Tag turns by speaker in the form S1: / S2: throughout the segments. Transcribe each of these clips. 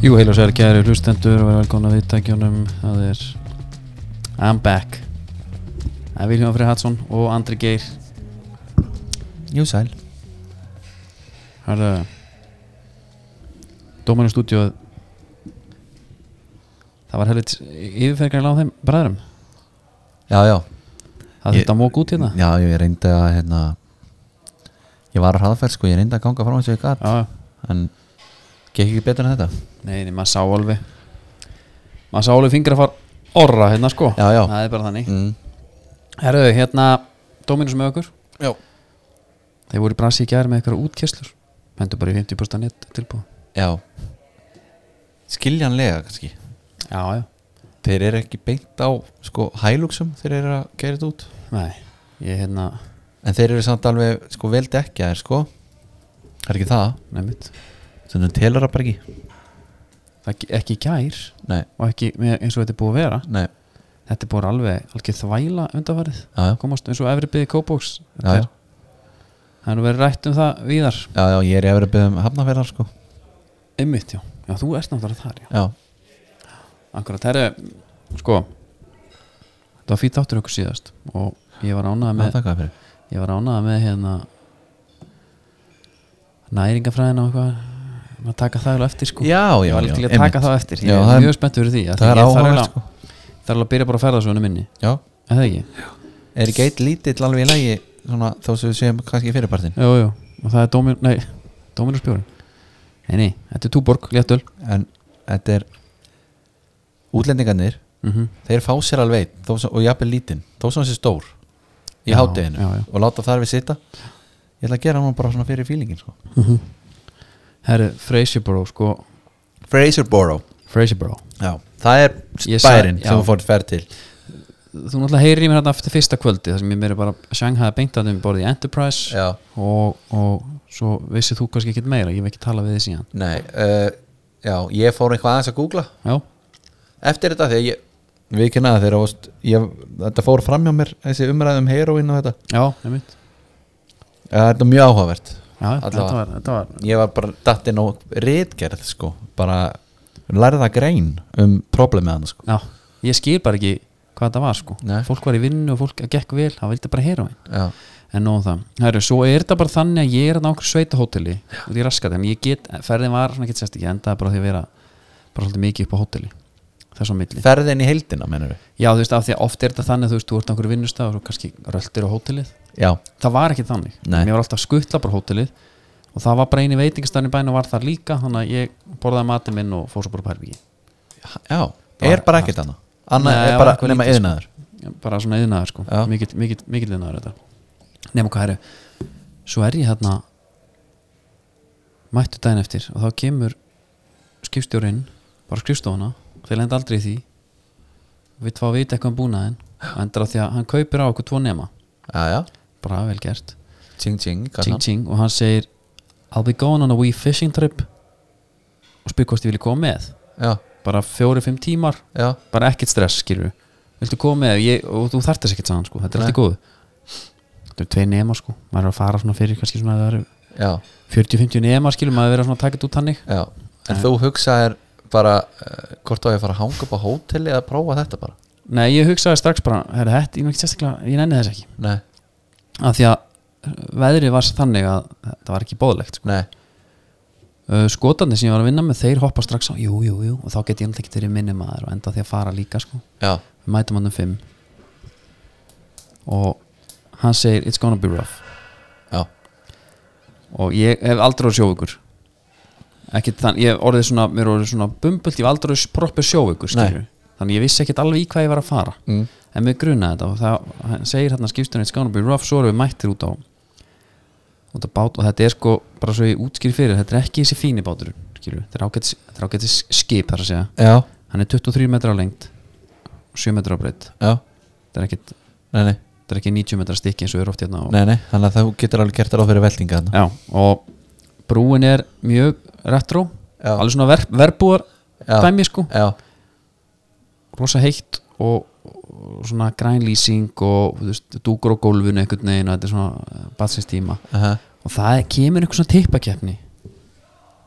S1: Jú, heil og sér kæri hlustendur og verið velkomna við tækjunum það er I'm back Það er Viljóðan Frey Hatsson og Andri Geir
S2: Jú sæl
S1: Hörðu Dómarinn í stúdíu Það var helvit yfirferðgarlega á þeim bræðurum
S2: Já, já,
S1: Það
S2: Ég-
S1: þetta mók út hérna
S2: já, ég reyndi að hérna, ég var að hraðferð sko, ég reyndi að ganga fram eins og ég gat
S1: Já,
S2: en gekk ekki betur en þetta
S1: nei, nei, maður sá alveg maður sá alveg fingra far orra hérna sko
S2: Já, já.
S1: Það er bara þannig
S2: mm.
S1: Herðu, hérna Dóminus með okkur
S2: Já
S1: Þeir voru í bransi í gær með eitthvað útkesslur Hendur bara í 50% net tilbúð
S2: skiljanlega kannski
S1: Já, já
S2: Þeir eru ekki beint á sko hæluxum þeir eru að gera þetta út
S1: Nei, ég hérna
S2: en þeir eru samt alveg sko vel dekkjaðir sko Það er ekki það,
S1: nefnt
S2: þannig að telur það bara ekki
S1: ekki, ekki í gær
S2: Nei,
S1: og ekki með, eins og þetta er búið að vera
S2: nei,
S1: þetta er búið að alveg alveg þvæla undanfarið
S2: já, já,
S1: komast eins og efri byggði kópóks
S2: já, já,
S1: það er nú verið rætt um það víðar
S2: já, já ég er efur að byggja um hafnaferðar sko
S1: ymmit, já, já þú ert náttúrulega þar já.
S2: Já,
S1: akkurat, það er sko þetta var fýtt áttur okkur síðast og ég var ánað
S2: það
S1: með
S2: takk að fyrir
S1: ég var ánað með hérna næringafræðina og eitthvað maður taka það alveg eftir sko
S2: Já, já,
S1: ég var alveg
S2: já,
S1: til að
S2: einmitt.
S1: taka það eftir ég
S2: Já, það
S1: er
S2: er-
S1: mjög spennt fyrir því af því
S2: Það er
S1: ég þarf
S2: áhugavert
S1: eiginlega-
S2: sko
S1: Það er alveg að byrja bara að ferða svona minni
S2: Já,
S1: Er það ekki?
S2: er ekki eitt lítill alveg í lægi svona, þá sem við séum kannski fyrirpartin
S1: Jú, jú Og það er Dómin, nei, Dóminus Bjórn Nei, nei, þetta er Túborg, léttöl
S2: en þetta er útlendingarnir,
S1: mm -hmm.
S2: þeir fá sér alveg einn, þó, sem- og jafnvel lítinn, þó sem þessi stór í
S1: Já,
S2: hátteginu
S1: já, já.
S2: og láta þar við sitta ég ætla að gera hann bara svona fyrir fílingin sko.
S1: Herri, Frasieboro, sko
S2: Fraserboro
S1: Frasieboro
S2: já, það er
S1: Ég sa-
S2: bærin
S1: já.
S2: sem þú fórt fer til
S1: Þú náttúrulega heyrir í mér hérna eftir fyrsta kvöldi þar sem ég mér er bara sjanghæða beintaðum borðið í Enterprise
S2: já,
S1: og, og svo vissið þú kannski ekkert meira Ég hef ekki talað við þið síðan
S2: nei uh, já, ég fór eitthvað aðeins að googla
S1: Já,
S2: eftir þetta þegar ég við ekki neða þegar varst, ég, þetta fór fram hjá mér þessi umræðum heroinn og þetta
S1: já, nefnt
S2: Eh, þetta er mjög áhugavert
S1: Já,
S2: Alla
S1: þetta
S2: vega.
S1: var, þetta var
S2: ég var bara datt inn á rítgerð sko, bara lærða grein um problemið hann sko.
S1: Já, ég skil bara ekki hvað þetta var, sko
S2: Nei.
S1: Fólk var í vinnu og fólk gekk vel, það vildi bara heyra á henn
S2: já,
S1: en nóðum það, Heru, svo er þetta bara þannig að ég er nákvæm sveitahóteli og ég raskat, en ég get, ferðin var svona ekki sérst ekki, endaði bara á því að vera bara svolítið mikið upp á hóteli, þess á milli
S2: ferðin í heildina mennur við
S1: já þú veist, af því að oft er þetta þannig, þú veist, þú ert á einhverju vinnustaf og svo kannski röltir á hótelið
S2: já,
S1: það var ekki þannig,
S2: Nei.
S1: mér var alltaf að skuttla bara á hótelið og það var bara eini veitingastæðin í bæn og var þar líka, þannig að ég borðaði matinn minn og fór svo bara pærbyggi
S2: já er bara ekkert hann annað
S1: Nei,
S2: er
S1: það var
S2: bara
S1: eitthvað
S2: nema
S1: lítið, sko.
S2: yðnaður
S1: bara svona yðnaður sko
S2: Já.
S1: mikill mikil, mikil yðnaður þetta nema hvað eru svo er ég hérna mættu daginn eftir og þá kemur skipstjórinn bara á skrifstofuna þeir lenda aldrei í því við tvá vita eitthvað um búnaðinn og endur á því að hann kaupir á okkur tvo nema
S2: já, já,
S1: bara vel gert
S2: tjing tjing
S1: ting, ting, og hann segir I'll be going on a wee fishing trip og spyr hvort ég vilja koma með
S2: já,
S1: bara fjóri-fimm tímar
S2: já,
S1: bara ekkert stress skilur viltu koma með ég, og þú þarft þess ekkert sagðan sko, þetta er
S2: Nei.
S1: alltaf góð þetta er tvei nema sko, maður er að fara svona fyrir kannski svona að það eru
S2: já,
S1: 40-50 nema skilur, maður er að vera svona að taka þetta út hannig
S2: já. en þú hugsaðir bara uh, hvort á ég að fara að hanga upp á hóteli eða prófa þetta bara
S1: nei, ég hugsaði strax bara, herra, þetta, ég er ekki sérstaklega ég nenni þess ekki,
S2: nei,
S1: af því að eh, veðrið var þannig að þetta var ekki bóðlegt sko.
S2: nei,
S1: uh, skotarnir sem ég var að vinna með, þeir hoppa strax á jú, jú, jú, og þá get ég alltaf ekki verið minni maður og enda á því að fara líka sko
S2: já,
S1: við mætum hann um 5 og hann segir it's gonna be rough
S2: já
S1: og ég hef aldrei orðið sjóvíkur ekkit þann, ég hef orðið svona mér er orðið svona bumbult, ég hef aldrei orðið proppið sjóvíkur skilur, þannig ég vissi ekkit alveg í hvað ég var að fara
S2: mm.
S1: en mér grunaði þetta og það hann segir hérna skipstunni, it's gonna be rough, svo erum við mættir út á út á bát og þetta er sko bara svo ég útskýr fyrir, þetta er ekki þessi fíni bátur skilur, þetta er ágætis- þetta er ágætis skip þar að segja,
S2: já,
S1: hann er 23 metra á lengt og 7 metra á breytt
S2: já,
S1: þetta er ekkit,
S2: nei, nei,
S1: þetta er ekki 90 metra stykki eins og er oft hérna og,
S2: nei, nei þannig að þú getur alveg gert þér á fyrir veltinga þarna.
S1: Já, og brúin er mjög retro
S2: Já.
S1: alveg svona ver, verbúar
S2: Já.
S1: dæmi sko,
S2: já,
S1: rosa heitt og, og svona grænlýsing og þú veist, dúkur á gólfinu einhvern veginn og þetta er svona batsins eh, tíma
S2: aha,
S1: og það er- kemur einhver svona tippakeppni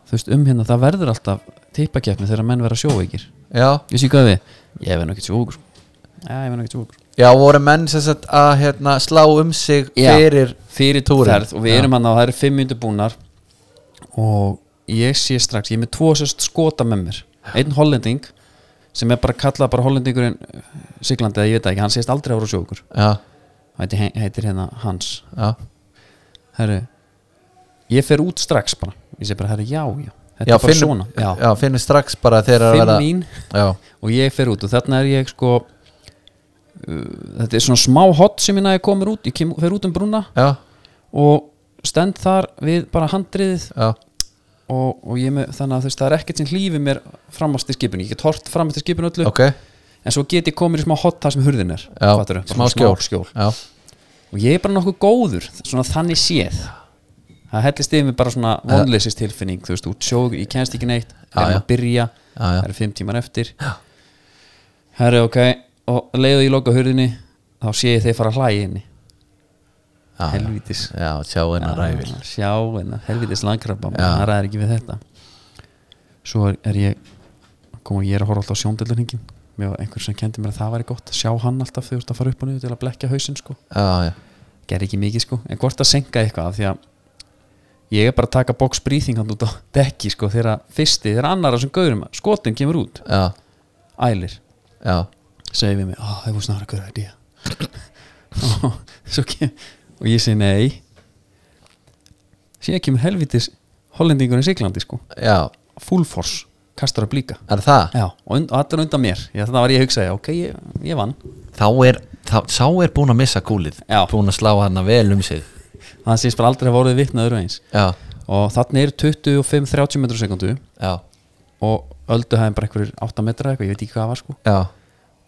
S1: þú veist um hérna, það verður alltaf tippakeppni þegar menn verða sjóveikir
S2: já,
S1: ég sé hvað við, ég verð nú ekkert sjóveikur sko. já, ég verð nú ekkert sjóveikur
S2: já voru menn sem sagt að hérna, slá um sig
S1: Já.
S2: fyrir
S1: fyrir
S2: túrin.
S1: túrferð og við
S2: Já.
S1: erum hann á, það eru fimm myndu búnar og ég sé strax, ég er með tvo sérst skota með mér einn hollending sem er bara kallað bara hollendingurinn eh, siglandi eða ég veit það ekki, hann sést aldrei ára sjókur
S2: já,
S1: heitir, he- heitir hérna Hans
S2: já,
S1: herru, ég fer út strax bara, ég sé bara herru, já, já þetta
S2: já,
S1: er bara svona, já,
S2: já, finnum strax bara þegar að
S1: fimm
S2: vera
S1: mín
S2: já,
S1: og ég fer út og þarna er ég sko uh, þetta er svona smá hot sem ég næði komur út, ég kem, fer út um brúna
S2: já,
S1: og stend þar við bara handriðið
S2: já,
S1: og, og ég með, þannig að þú veist, það er ekkert sem hlýfi mér framast í skipinu, ég get hort framast í skipinu öllu
S2: ok
S1: en svo get ég komið í smá hot þar sem hurðin er
S2: já,
S1: fattarðu, bara
S2: smá
S1: svona
S2: skjól, Já,
S1: og ég er bara nokkuð góður, svona þannig séð það hellist yfir mig bara svona vonleysist tilfinning, þú veist, út sjóð ég kennst ekki neitt,
S2: Já,
S1: það er
S2: já.
S1: að byrja
S2: já, já,
S1: það eru fimm tímar eftir herri, ok, og leiðu ég loka hurðinni þá sé ég þeir fara að hlæja inni
S2: já, já.
S1: helvítis
S2: já sjá hennar ræfil
S1: Já, Ah, sjá hennar, helvitis langkrabba
S2: Já.
S1: hann ræðir ekki við þetta svo er, er ég kom og ég er að horfa alltaf á sjóndellurningin mér var einhver sem kendi mér að það væri gott að sjá hann alltaf þegar þú ert að fara upp og niður til að blekja hausinn sko.
S2: já, já,
S1: ger ekki mikið sko, en hvort að senka eitthvað af því að ég er bara að taka box breathing hann út á dekki sko, þegar að fyrsti, þegar annara sem gaurum skotin kemur út,
S2: já,
S1: ælir
S2: já
S1: segir við mig, ah, það var snarra góð idea og svo kem og ég segi nei síðan kemur helvitis hollendingurinn siglandi sko
S2: já,
S1: full force, kastar að blíka
S2: er það
S1: já, og, und, og allir undan mér, já, þannig var ég að hugsa já, ok, ég, ég vann,
S2: þá er, þá, sá er búin að missa kúlið
S1: Já.
S2: búin að slá hann vel um sig
S1: það sést bara aldrei að voruð vitnaður eins
S2: já,
S1: og þannig er 25-30 metrur sekundu
S2: já,
S1: og öldu hafði bara einhverjir 8 metra eitthvað, ég veit ekki hvað það var sko
S2: já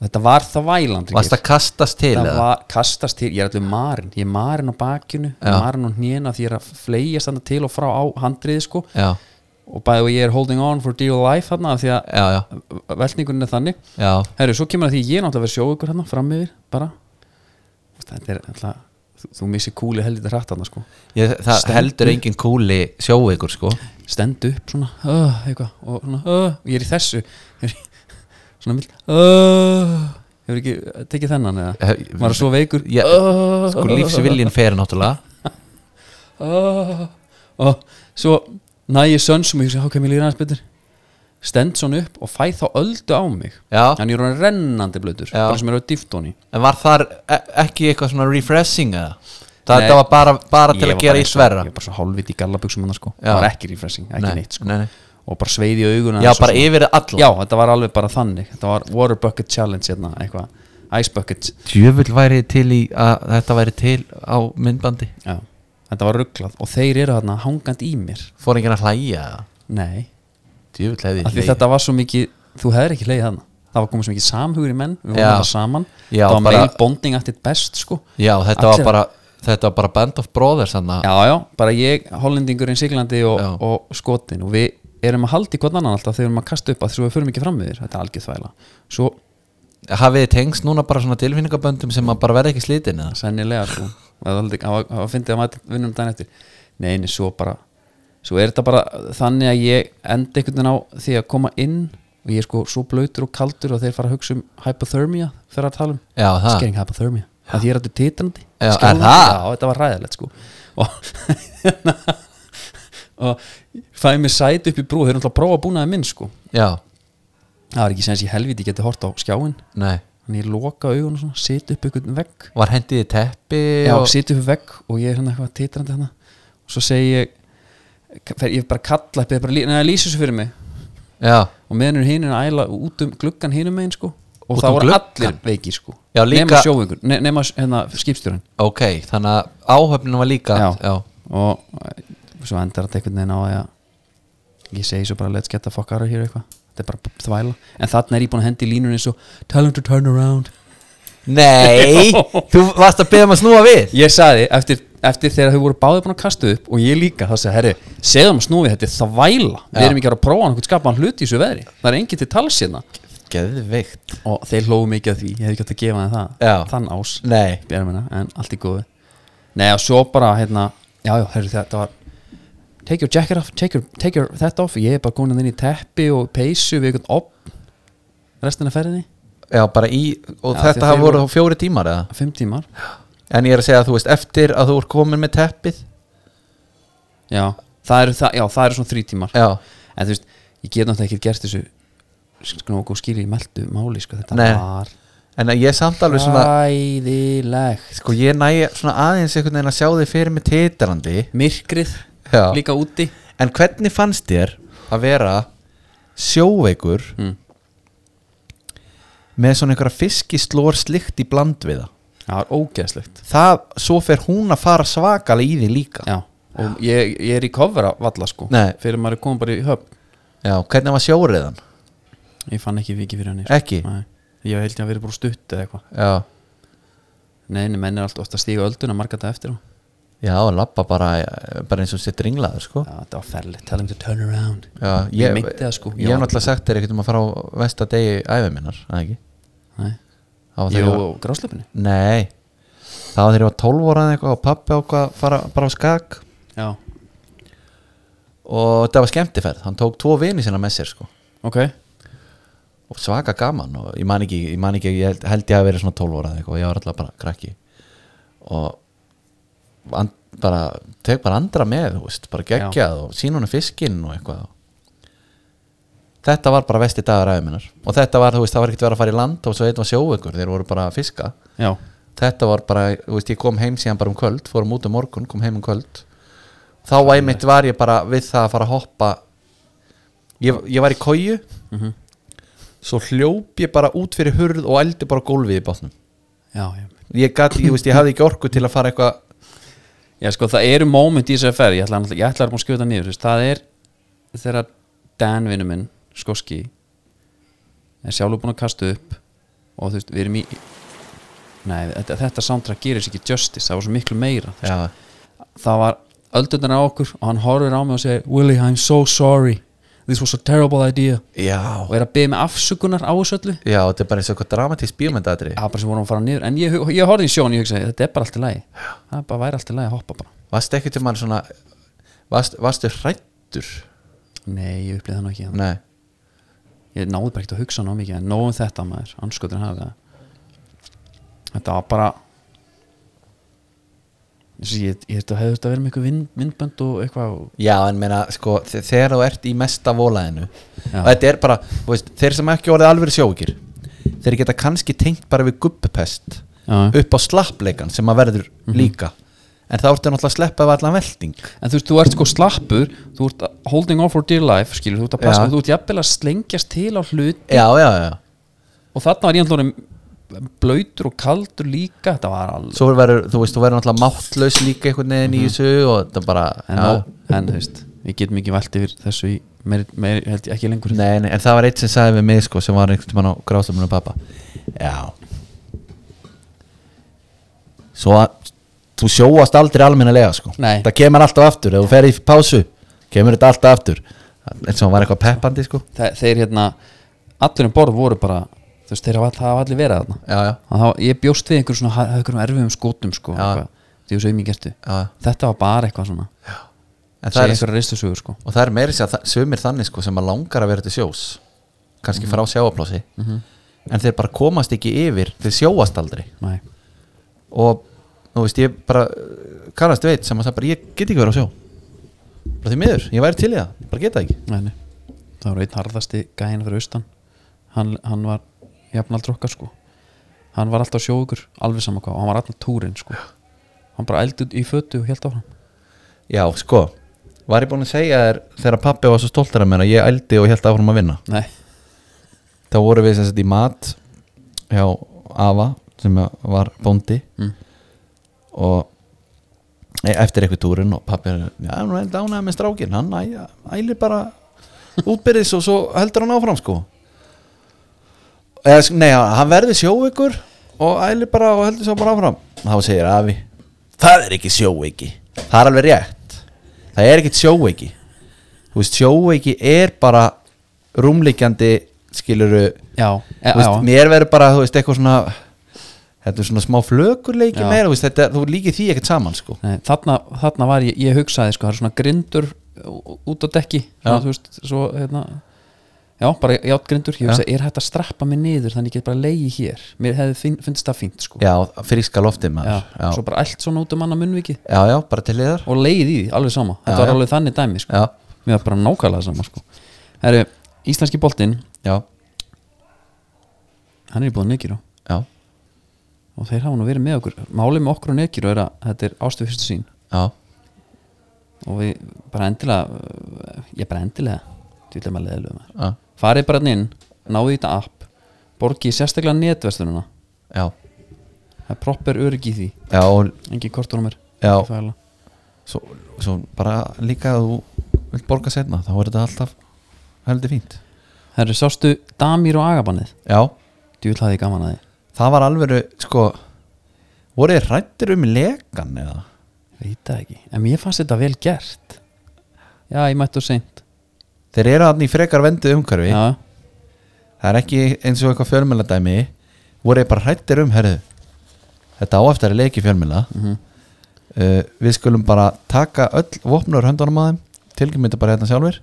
S1: þetta var það væland
S2: varst að kastast til
S1: það
S2: eða?
S1: var kastast til, ég er allir marinn ég er marinn á bakinu,
S2: Já.
S1: marinn á hnjena því ég er að flegjast hann til og frá á handriði sko
S2: já,
S1: og bæði og ég er holding on for dear life þarna af því að
S2: já, já,
S1: velningunin er þannig
S2: já
S1: herru, svo kemur að því að ég er náttúrulega verið sjóugur hérna fram yfir, bara þetta er alltaf, þú, þú missir kúli heldur hratt þarna sko,
S2: Ég, það
S1: Stendur.
S2: heldur engin kúli sjóu ykkur sko
S1: stend upp svona, uh, eitthvað, og svona, uh, ég er í þessu svona mild uh, hefur ekki tekið þennan eða,
S2: Eh,
S1: maður er svo veikur
S2: Já,
S1: uh,
S2: sko lífsviljin fer náttúrulega
S1: oh, og svo næ ég sönsum og ég hugsa, ok, mér líður aðeins betur stend svona upp og fæ þá öldu á mig
S2: já,
S1: en ég er hann rennandi blöður
S2: Ah. Já.
S1: bara sem er á dýftoni
S2: en var þar e ekki eitthvað svona refreshing eða? Það
S1: Nei.
S2: þetta var bara, bara
S1: Ég
S2: til
S1: var
S2: að gera í
S1: eins og-
S2: sverra
S1: ég var bara svo hálfitt í gallabuxum hann sko
S2: Já.
S1: það var ekki refreshing, ekki
S2: Nei,
S1: neitt sko
S2: nei, nei.
S1: og bara sveiði í auguna
S2: Já,
S1: aðeins og
S2: bara
S1: svona.
S2: yfir alla
S1: já, þetta var alveg bara þannig þetta var water bucket challenge hérna, eitthvað ice bucket
S2: Djöfull væri til í að þetta væri til á myndbandi
S1: já. þetta var rugglað og þeir eru þarna hangandi í mér
S2: Fór enginn að hlæja eða?
S1: nei,
S2: Djöfull hefði
S1: af því
S2: hlegið.
S1: þetta var svo mikið þú hefðir ekki leiðið þarna það var komið svo mikið samhugur í menn við vorum
S2: Já.
S1: þetta saman
S2: Já,
S1: það var
S2: bara-
S1: bara... meil bonding allt eitt best sko
S2: Já, þetta
S1: Allir-
S2: var bara Þetta var bara Band of Brothers hann
S1: já, já, bara ég, hollendingurinn, siglandi og,
S2: Já.
S1: og skotin og við erum að haldi hvort annan alltaf þegar við erum að kasta upp að þessu við förum ekki fram við þér, þetta er algjör þvæla svo
S2: Hafið þið tengst núna bara svona tilfinningaböndum sem að bara verða ekki slitin eða?
S1: sennilega sko það var aldrei- það var- það var fyndið að maður vinnum daginn eftir nei, nei, svo bara svo er þetta bara þannig að ég endi einhvern veginn á því að koma inn og ég er sko svo blöytur og kaldur og þeir fara að hugsa um hypothermia þegar að tala um
S2: Já, það
S1: skering hypothermia að því ég er alltaf titrandi
S2: Já, er
S1: skjálfandi.
S2: það?
S1: já, þetta var ræðilegt sko og, og fæði mér sæti upp í brú þeir eru alltaf að prófa að búnaði minn sko
S2: Já,
S1: það var ekki sem ég helviti geti hort á skjáin
S2: nei
S1: þannig ég loka augun og svona, sit upp einhvern vegg
S2: Var hendið í teppi
S1: já,
S2: og...
S1: sit upp vegg og ég er hérna eitthvað titrandi hérna og svo segi ég fer, ég bara kalla upp, ég bara lí- neða, lýsa þessu fyrir mig
S2: já,
S1: og meðan er hinn að æla út um gluggan hinum megin sko og
S2: Út
S1: það
S2: um
S1: voru
S2: gluggann?
S1: allir veikir sko
S2: Já, líka-
S1: nema sjóingur, ne nema hérna, skipstjórin
S2: ok Þannig að áhöfnin var líka
S1: Já.
S2: já,
S1: og eh, svo endar þetta einhvern veginn á að ég- ég segi svo bara let's get the fuck out of here eitthvað þetta er bara þvæla en þarna er ég búin að hendi í línunni eins og tell him to turn around
S2: Nei, þú varst að beða maður að snúa við
S1: ég sagði eftir, eftir þegar þau voru báði búin að kasta upp og ég líka þá sagði herri segðum að snúfi þetta er þvæla við
S2: Já.
S1: erum ekki að fara að prófa einhvern skapaðan hlut í þessu veðri það er enginn til tals hérna
S2: Geðveikt
S1: og þeir hlóðu mikið að því ég hef ekki átt að gefa þeim það
S2: Já.
S1: þann ás
S2: Nei,
S1: björmina en allt í góðu nei og svo bara hérna já já herri þetta var take your jacket off, take your, take your þetta off ég er bara komin inn í teppi og peysu við einhvern opn restina af ferðinni,
S2: já, bara í, og
S1: Já, því
S2: þetta
S1: að
S2: hafa
S1: þeir
S2: voru þá fjóri tímar eða
S1: fimm tímar
S2: en ég er að segja að þú veist, eftir að þú er komin með teppið
S1: já, það eru, það, já, það eru svona þrý tímar
S2: já,
S1: en þú veist, ég get náttúrulega ekki gert þessu sko og skilja í meldu máli sko, þetta
S2: Nei.
S1: var
S2: en ég er samt alveg svona
S1: hræðilegt
S2: sko, ég næ svona aðeins einhvern veginn að sjá þig fyrir mig titrandi
S1: myrkrið
S2: já.
S1: líka úti
S2: en hvernig fannst þér að vera sjóveikur
S1: Mm.
S2: með svona einhverja fiskislór slikt í bland við það
S1: það var ógeðslegt
S2: það, svo fer hún að fara svakalega í því líka
S1: já, og ég, ég er í kofra valla sko
S2: Nei.
S1: fyrir maður er komin bara í höfn
S2: Já, hvernig var sjóriðan?
S1: ég fann ekki vikið fyrir hann
S2: Ekki?
S1: Nei, ég held ég að vera bara stutt eða eitthvað
S2: Já,
S1: Nei, nei, menn er alltaf oft að stíga ölduna marga þetta eftir sko. á Já,
S2: já, lappa bara, bara eins og sitt ringlaður sko
S1: þetta var ferlegt, tell him to turn around
S2: Já,
S1: Ég meinti það, sko.
S2: Ég
S1: Já.
S2: hef náttúrulega sagt þér ekkert um að fara á vesta degi æfið minnar, eða ekki?
S1: Nei,
S2: Það var
S1: jú,
S2: þegar ég var-
S1: og grásleipinu
S2: Nei, það var þegar ég var 12 ára eða eitthvað og pappi ákvað að fara bara á skak
S1: Já,
S2: og þetta var skemmtiferð, hann tók tvo vini sinna með sér sko
S1: ok
S2: og svaka gaman og ég man ekki, ég man ekki ég held, held ég að vera svona 12 ára eða eitthvað og ég var alltaf bara krakki og and, bara teg bara andra með, þú veist, bara geggjað og sín hún fiskinn og eitthvað þetta var bara vesti dagur aðeiminnar og þetta var, þú veist, það var ekkert verið að fara í land og svo eitthvað sjóugur, þeir voru bara að fiska
S1: Já,
S2: þetta var bara, þú veist, ég kom heim síðan bara um kvöld, fórum út um morgun, kom heim um kvöld þá var einmitt var ég bara við það að fara að hoppa ég, ég var í kóju svo hljóp ég bara út fyrir hurð og eldi bara gólfið í bátnum
S1: já, já
S2: ég gat, ég veist, ég hafði ekki orku til að fara eitthvað
S1: Já, sko, það eru moment í þessari ferð Ég ætla, ég ætla að búin að skjóta niður þú veist, Það er þegar Dan vinnu minn, skoski er sjálfur búin að kasta upp og þú veist, við erum í Nei, þetta, þetta soundtrack gerir sér ekki justice það var svo miklu meira þú veist.
S2: já,
S1: það var öldundan á okkur og hann horfir á mig og segir Willy, I'm so sorry This was a terrible idea
S2: já,
S1: og er að byggja mig afsökunar á þessu öllu
S2: já, þetta er bara eins og eitthvað dramatísk bíómyndaðri
S1: það var bara sem vorum að fara niður en ég, ég horfði í sjón, ég hugsaði, þetta er bara allt í lagi það er bara væri allt í lagi að hoppa bara
S2: varstu ekki til mann svona varst, varstu hrættur
S1: nei, ég upplýði það nú ekki
S2: nei,
S1: ég náði bara ekkert að hugsa ná mikið en nóðum þetta maður, anskotin hafa það þetta var bara Þessi, ég, ég þetta hefði þetta verið með eitthvað vind, vindbönd og eitthvað og,
S2: já, en meina sko, þe- þegar þú ert í mesta volaðinu
S1: Já.
S2: og þetta er bara, þú veist, þeir sem ekki orðið alveg sjókir, þeir geta kannski tengt bara við guppupest
S1: já.
S2: upp á slappleikan sem að verður líka en þá ertu náttúrulega að sleppa við allan velting
S1: en þú veist, þú ert sko slappur þú ert að- holding on for dear life skilur, þú ert að passa
S2: Já.
S1: og þú ert jafnvel að slengjast til á hlut
S2: já, já, já, já
S1: og þarna var ég alltaf blöytur og kaldur líka þetta var alveg
S2: svo verður, þú veist, þú verður náttúrulega máttlaus líka einhvern veginn í þessu og þetta bara,
S1: en,
S2: já,
S1: þá- en þú veist, við getum ekki velt yfir þessu í, meir, meir, held ég ekki lengur
S2: nei, nei, en það var eitt sem sagði við mig, sko, sem var einhvern tímann á gráðstöfnum og pappa, já svo að þú sjóast aldrei almennilega, sko
S1: Nei.
S2: það kemur alltaf aftur, ef þú fer í pásu kemur þetta alltaf aftur eins og hann var eitthvað peppandi, sko
S1: Þe, þeir hérna, allir um borð voru bara þú veist, þeir hafa, það hafa allir verið þarna
S2: já, já,
S1: og það, ég bjóst við einhver svona ha- einhverjum erfiðum skotum sko,
S2: Já.
S1: eitthvað, því þessu auðmingertu
S2: já, já
S1: þetta var bara eitthvað svona
S2: En það
S1: segja
S2: er,
S1: einhverja reistusögur sko
S2: og það er meiri sér að sömur þannig sko sem að langar að vera til sjós kannski frá sjáaplási en þeir bara komast ekki yfir þeir sjóast aldrei
S1: Nei.
S2: og þú veist ég bara uh, kannast veit sem að það bara ég get ekki verið á sjó bara því miður, ég væri til í það ég bara geta það ekki
S1: Nei, nei. það var einn harðasti gæin fyrir austan hann, hann var jafnaldr okkar sko hann var alltaf sjóugur, alveg sama hvað og hann var alltaf túrin sko hann bara ældi í fötu og helt áfram
S2: já sko, var ég búin að segja þér þegar pappi var svo stoltar af mér að ég ældi og held áfram að vinna
S1: nei,
S2: þá vorum við sem sagt í mat hjá Ava sem var bóndi
S1: Mm.
S2: og e, eftir eitthvað túrin og pappi er já, nú er dánæði með strákin hann æ- ælir bara útbyrðis og svo heldur hann áfram sko Eða, sk- nei, hann verður sjóveikur og ælir bara og heldur svo bara áfram þá segir Afi það er ekki sjóveiki það er alveg rétt það er ekkit sjóveiki þú veist, sjóveiki er bara rúmlíkjandi skiluru
S1: já, e,
S2: Þú veist,
S1: já
S2: mér verður bara, þú veist, eitthvað svona þetta er svona smá flökurleiki
S1: Já.
S2: meira, þú veist, þetta, er- þú líkir því ekkert saman sko.
S1: Nei, þarna, þarna var ég, ég hugsaði sko, það er svona grindur ú- út á dekki svona,
S2: Já.
S1: þú veist, svo hérna já, bara játt grindur, ég
S2: Já.
S1: hugsaði, er hægt að strappa mig niður þannig ég get bara leiði hér, mér hefði finn, finnst það fínt sko,
S2: já, fríska loftið
S1: Já,
S2: maður já.
S1: svo bara allt svona út um annað munnviki
S2: já, já, bara til liðar
S1: og leiði í því, alveg sama, þetta
S2: Já,
S1: var
S2: já.
S1: alveg þannig dæmi sko,
S2: já,
S1: mér var bara nákvæmlega sama sko, herru, íslenski boltinn
S2: já,
S1: hann er í búið Negiro
S2: já,
S1: og þeir hafa nú verið með okkur, málið með okkur og Negiro er að þetta er ástu fyrstu sín
S2: já,
S1: og við bara endilega uh, ég bara endilega, þú ætlum að leiðilega með
S2: já,
S1: farið bara þarna inn, náðu í þetta app borgið sérstaklega netverslununa
S2: já,
S1: það er proper öryggi í því,
S2: já, og,
S1: engin kortrómur
S2: já.
S1: já,
S2: Svo, svo bara líka að þú vilt borga setna, þá er þetta alltaf heldur fínt
S1: það eru sástu damir og agabannið
S2: já,
S1: djúvill hafði ég gaman að
S2: það var alveg sko, voru þið rættir um legan eða?
S1: því veit það ekki, en mér fannst þetta vel gert já, ég mættu seint
S2: þeir eru hann í frekar vendið umhverfi
S1: já,
S2: það er ekki eins og eitthvað fjölmjöla dæmi voru þið bara rættir um, herðu þetta áeftar er leiki fjölmjöla uh, við skulum bara taka öll vopnur höndunum að þeim tilgjum þetta bara hérna sjálfur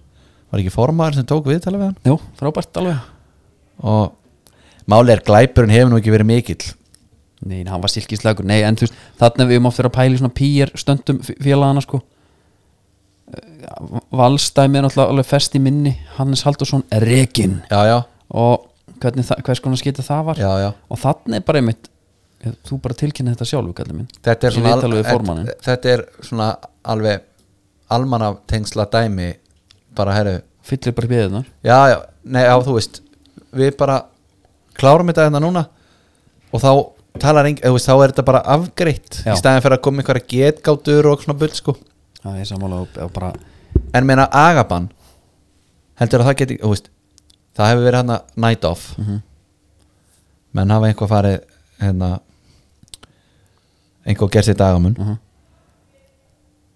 S2: var ekki formaður sem tók viðtala við hann
S1: jú, frábært alveg
S2: og máli er glæpurinn hefur nú ekki verið mikill
S1: nei, hann var silkislagur, nei, en þú veist þarna við um oft verið að pæla í svona pýjar stöndum f- félagana sko Eh, Valstæmi er náttúrulega alveg fest í minni Hannes Haldursson er rekin
S2: já, já,
S1: og hvernig, það- hvers konar skita það var
S2: já, já
S1: og þannig er bara einmitt eh, þú bara tilkynna þetta sjálfu kallið minn
S2: þetta er,
S1: Í
S2: svona,
S1: viðtali við
S2: al,
S1: formannin.
S2: þetta er svona alveg almannatengsla dæmi bara herru
S1: fyllir bara beðunar
S2: já, já, nei, já, þú veist við bara klárum þetta hérna núna og þá talar engin, þú veist, þá er þetta bara afgreitt
S1: Já.
S2: í staðin fyrir að koma einhverja getgátur og svona bull, sko
S1: það er sammála og, og bara
S2: en meina agaban heldur að það geti, þú veist það hefur verið hérna night off
S1: Mhm.
S2: menn hafa einhvað farið hérna einhvað gerð sér dagamun
S1: Mhm.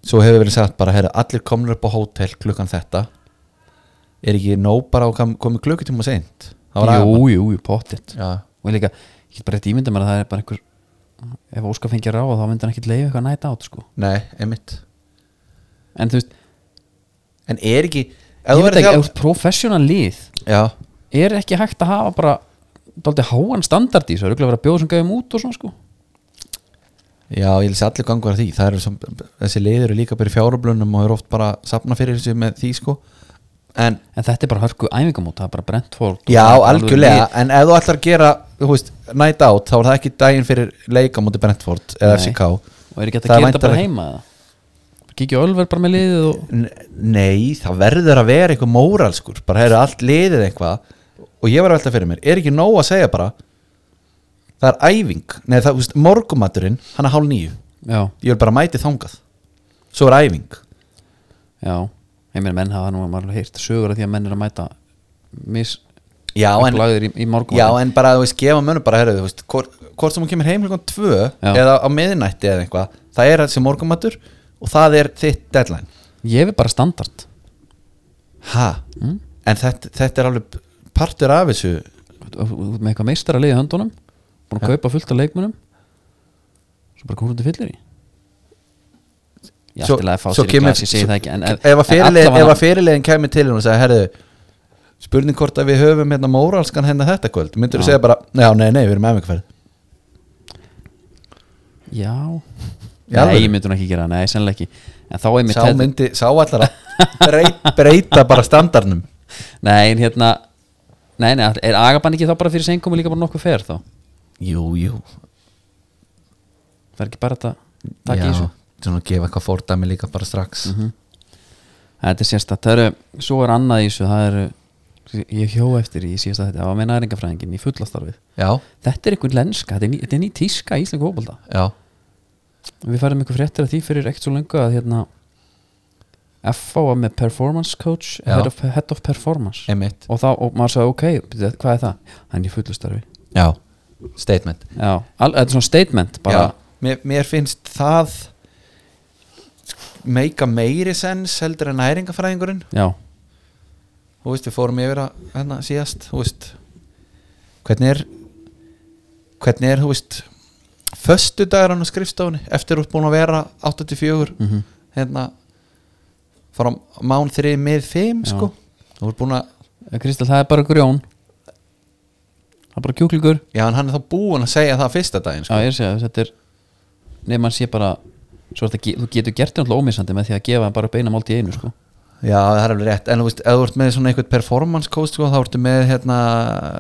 S2: svo hefur verið sagt bara heyrðu, allir komnir upp á hótel klukkan þetta er ekki nóg bara að kom- komið klukkutíma seint það var
S1: jú,
S2: agaban
S1: jú, jú, pottitt
S2: já,
S1: og ég líka, ég get bara rétt ímynda mér að það er bara einhver ef Óskar fengi að ráða þá myndi hann ekkit leiði eitthvað næta át sko
S2: nei, einmitt
S1: en þú veist,
S2: en er ekki
S1: ég
S2: ef þú
S1: veit
S2: verður
S1: ekki,
S2: þjálf-
S1: ef professional lið
S2: já,
S1: er ekki hægt að hafa bara dálítið háan standard í þessu, það er örugglega verið að bjóða sem gæðum út og svona sko
S2: Já, ég lýsi allir gangur að því Það eru sem, þessi leiður eru líka bara í fjárablunum og eru oft bara að safna fyrir þessu með því sko En
S1: en þetta er bara hörku æfingamót, það er bara brent fólk
S2: Já, algjörlega, en ef þú ætlar að gera þú veist, night out, þá er það ekki daginn fyrir leika múti Brentford
S1: Nei.
S2: eða FCK
S1: og er ekki hægt að
S2: Það er
S1: gera þetta
S2: væntanlegt-
S1: bara heima eða? kíkja Ölver bara með liðið og
S2: N- Nei, það verður að vera eitthvað móralskur, bara hefur allt liðið eitthvað og ég var að velta fyrir mér, er ekki nóg að segja bara það er æfing, nei það, þú veist, morgumaturinn hann er hálf nýju,
S1: já,
S2: ég vil bara mæti þangað svo er æfing
S1: já, ég meina menn hafa nú maður alveg heyrt sögur af því að menn er að mæta mis
S2: Já, en
S1: upplagðir í, í morgun
S2: Já, en bara, þú veist, gefa mönnum bara, herru, þú veist, hvort, hvort sem hún kemur heim klukkan tvö
S1: Já.
S2: eða á miðinætti eða eitthvað, það er þessi morgumatur og það er þitt deadline.
S1: ég er bara standard Hm?
S2: Ha? En þetta, þetta er alveg partur af þessu,
S1: Þú- þú- þú- með eitthvað meistara liðið höndunum búin að kaupa fullt af leikmunum svo bara komur þetta fyllir í ég
S2: Svo-
S1: ættilega að fá
S2: svo
S1: sér í
S2: kemur-
S1: glas, ég segi
S2: svo-
S1: það ekki en, en,
S2: ef að fyrirlegin, ef
S1: allavega-
S2: að fyrirlegin kemur til hún og segja, herru, spurning hvort að við höfum hérna móralskan hérna þetta kvöld, myndur þú
S1: Já.
S2: segja bara, já, nei, nei, við erum emingferð.
S1: já,
S2: Í alvöru?
S1: nei, ég myndi hún ekki gera það, nei, sennilega ekki en þá er mér
S2: Sá myndi, sá allar að breyt, breyta bara standarnum.
S1: nei, en hérna nei, nei, er agabann ekki þá bara fyrir sengum og líka bara nokkuð fer þá
S2: Jú, jú.
S1: það er ekki bara þetta takk Mhm. í
S2: Já,
S1: þessu
S2: Svona gefa eitthvað fórdæmi líka bara strax.
S1: þetta er sérstætt, það eru, svo er annað í þessu það eru, ég hjó eftir í síðasta þetta, það var með næringafræðingin í fullastarfið
S2: Já,
S1: þetta er einhvern lenska, þetta er ný, þetta er ný tíska í Íslengu hópalda,
S2: já.
S1: við færum einhver fréttir af því fyrir ekkert svo lengu að hérna FA var með performance coach
S2: Já.
S1: head of, head of performance
S2: Einmitt
S1: og þá, og maður sagði ok, byrju, hvað er það hann er í fullastarfi,
S2: Já, statement
S1: já, Al, þetta er svona statement bara,
S2: já. Mér, mér finnst það meika meiri sens heldur en næringafræðingurinn
S1: já,
S2: Þú veist, við fórum yfir að hérna síðast Þú veist Hvernig er Hvernig er, þú veist Föstu dagar hann á skrifstofunni Eftir út búin að vera 84
S1: mhm.
S2: Hérna Fara á mán 3 með 5
S1: Já.
S2: sko Þú er búin að
S1: Kristall, Eh, það er bara grjón Það er bara kjúklingur
S2: Já en hann er þá búin að segja það fyrsta daginn
S1: Já,
S2: sko
S1: ég er að segja, þetta er Nefn hann sé bara svo er þetta ge- Þú getur gert þetta ómissandi með því að gefa hann bara beina mált í einu sko.
S2: Já það er alveg rétt En þú veist Ef þú ert með svona eitthvað performance coach sko Þá ertu með hérna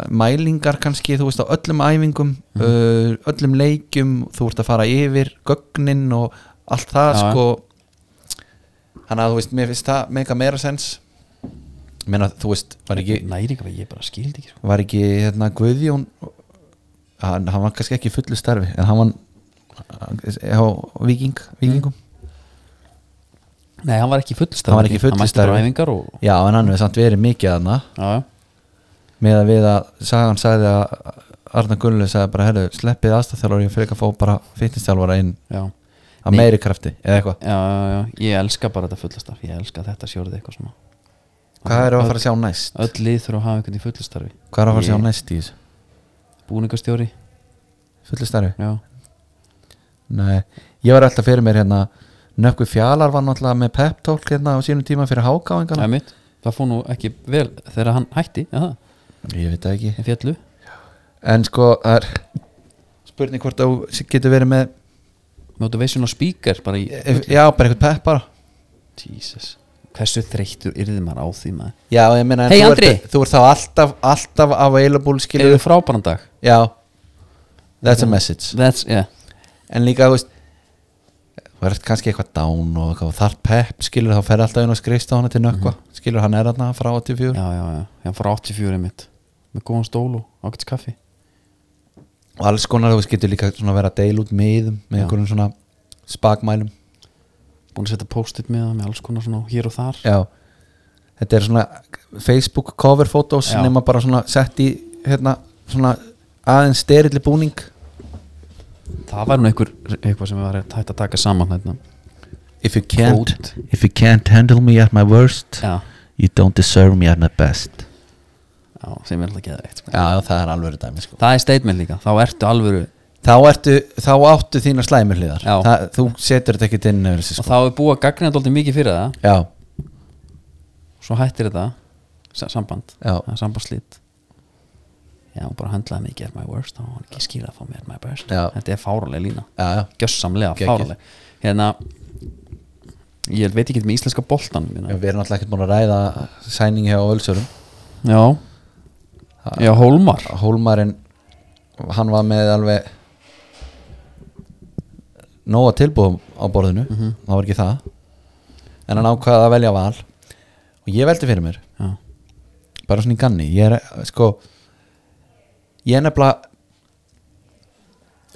S2: Mælingar kannski Þú veist á öllum æfingum
S1: Mhm.
S2: uh, Öllum leikjum Þú ert að fara yfir Gögnin og allt það
S1: Já, já.
S2: sko Þannig að þú veist Mér finnst það Mega meira sens Menna þú veist Var ekki
S1: Næringa, ég bara skildi ekki sko.
S2: var ekki hérna Guðjón hann, hann var kannski ekki í fullu starfi en hann var á viking,
S1: Mm.
S2: vikingum
S1: Nei, hann var ekki fullstarf
S2: Hann var ekki í fullu
S1: Hann mætti bara
S2: starfi.
S1: æfingar og
S2: já en hann hefur samt verið mikið aðna
S1: Já, já
S2: með að við að Sagan sagði að Arna Gunnlu sagði bara herru sleppið aðstæðþjálfari og fyrir að fá bara fitnessþjálfara inn
S1: Já,
S2: að
S1: Nei.
S2: meiri krafti eða eitthvað
S1: já, já, já, ég elska bara þetta fullastarf Ég elska að þetta sjórið eitthvað svona
S2: hvað er að fara að sjá næst
S1: Öll lið þurfa að hafa einhvern í fullastarfi
S2: hvað er að fara að sjá
S1: Ég-
S2: næst í þessu
S1: Búningastjóri,
S2: fullu starfi
S1: já
S2: nei ég var alltaf fyrir mér hérna Nökkvi Fjalar var náttúrulega með pep talk hérna á sínum tíma fyrir hákáingana
S1: Það er mitt, það fór nú ekki vel Þegar hann hætti, já,
S2: ég veit það ekki
S1: það fjallu
S2: En sko, það er spurning hvort þú getur verið með
S1: Motivation og speaker bara í
S2: ef- Já, bara eitthvað pepp bara
S1: Jesus Hversu þreyttur yrði maður á því maður
S2: Já, ég meina en
S1: Hey,
S2: þú,
S1: Andri!
S2: ert, þú ert þá alltaf, alltaf available skilur
S1: Eða frábæran dag
S2: Já, that's a message
S1: That's, yeah
S2: En líka, þú veist þú ert kannski eitthvað down og eitthvað, og þarf pepp skilur þá fer alltaf inn og skrifst á hana til nökkva skilur hann er hann frá 84
S1: Já, já, já Já, frá 84 mitt Með góðan stól og ágætis kaffi
S2: og alls konar, þú veist, getur líka svona verið að deila út miðum með
S1: Já.
S2: einhverjum svona spakmælum
S1: Búin að setja post-it með það með alls konar svona hér og þar
S2: Já Þetta er svona Facebook cover photos
S1: Já.
S2: nema bara svona sett í hérna, svona aðeins styrilli búning
S1: Það var nú einhver, eitthvað sem var hægt að taka saman hérna
S2: If you
S1: can't-
S2: if you can't handle me at my worst
S1: Já
S2: you don't deserve me at my best
S1: Já, sem er alltaf geðveikt sko.
S2: Já, það er alveg dæmi sko
S1: Það er statement líka, þá ertu alvöru
S2: Þá, ertu, þá áttu þína slæmi hliðar
S1: Já.
S2: það, Þú setur þetta ekki inn yfir þessi
S1: Og
S2: sko
S1: þá er búið að gagna þetta mikið fyrir það
S2: Já,
S1: Svo hættir þetta sa- Samband
S2: Já.
S1: Það er Sambandslít Já, bara höndlaði mikið at my worst og hann ekki skýra að fá mér at my best
S2: Já.
S1: Þetta er fáraleg lína
S2: já, já
S1: gjössamlega
S2: Gekkið.
S1: fáraleg hérna ég veit ekki með íslenska hérna. boltan
S2: Já,
S1: já,
S2: Við erum alltaf ekkert búin að ræða sæningi hjá Ölsörum
S1: já. já Hólmar
S2: Hólmarinn, hann var með alveg nóga tilbúðum á borðinu
S1: Mhm.
S2: það var ekki það en hann ákvaði að velja val og ég veldi fyrir mér,
S1: já,
S2: bara svona í ganni ég er, sko ég er nefnilega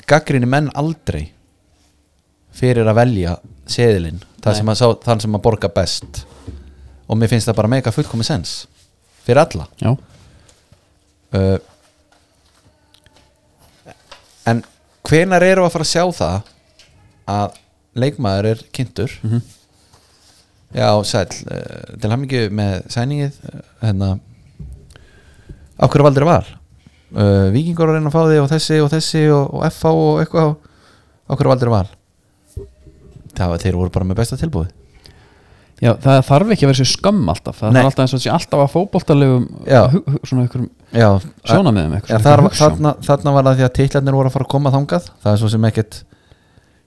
S2: gaggrinni menn aldrei fyrir að velja seðilinn, það
S1: Nei.
S2: sem að sá, þann sem að borga best og mér finnst það bara mega fullkomi sens fyrir alla
S1: já,
S2: uh, en hvenar eru að fara að sjá það að leikmaður er kynntur
S1: Mhm.
S2: já, sæll uh, til hamingju með sæningið uh, hérna á hverju valdir var uh, vikingur að reyna að fá þig og þessi og þessi og, og FH og eitthvað á hverju valdir var það var þeir voru bara með besta tilbúið
S1: já það þarf ekki að vera sér skömm alltaf það
S2: Nei.
S1: er alltaf eins og þessi alltaf að fótboltalegum
S2: Já.
S1: hu- hu- svona einhverjum
S2: já,
S1: sjónameðum
S2: Já, þar, þarna, þarna var það því að titlarnir voru að fara að koma þangað það er svo sem ekkert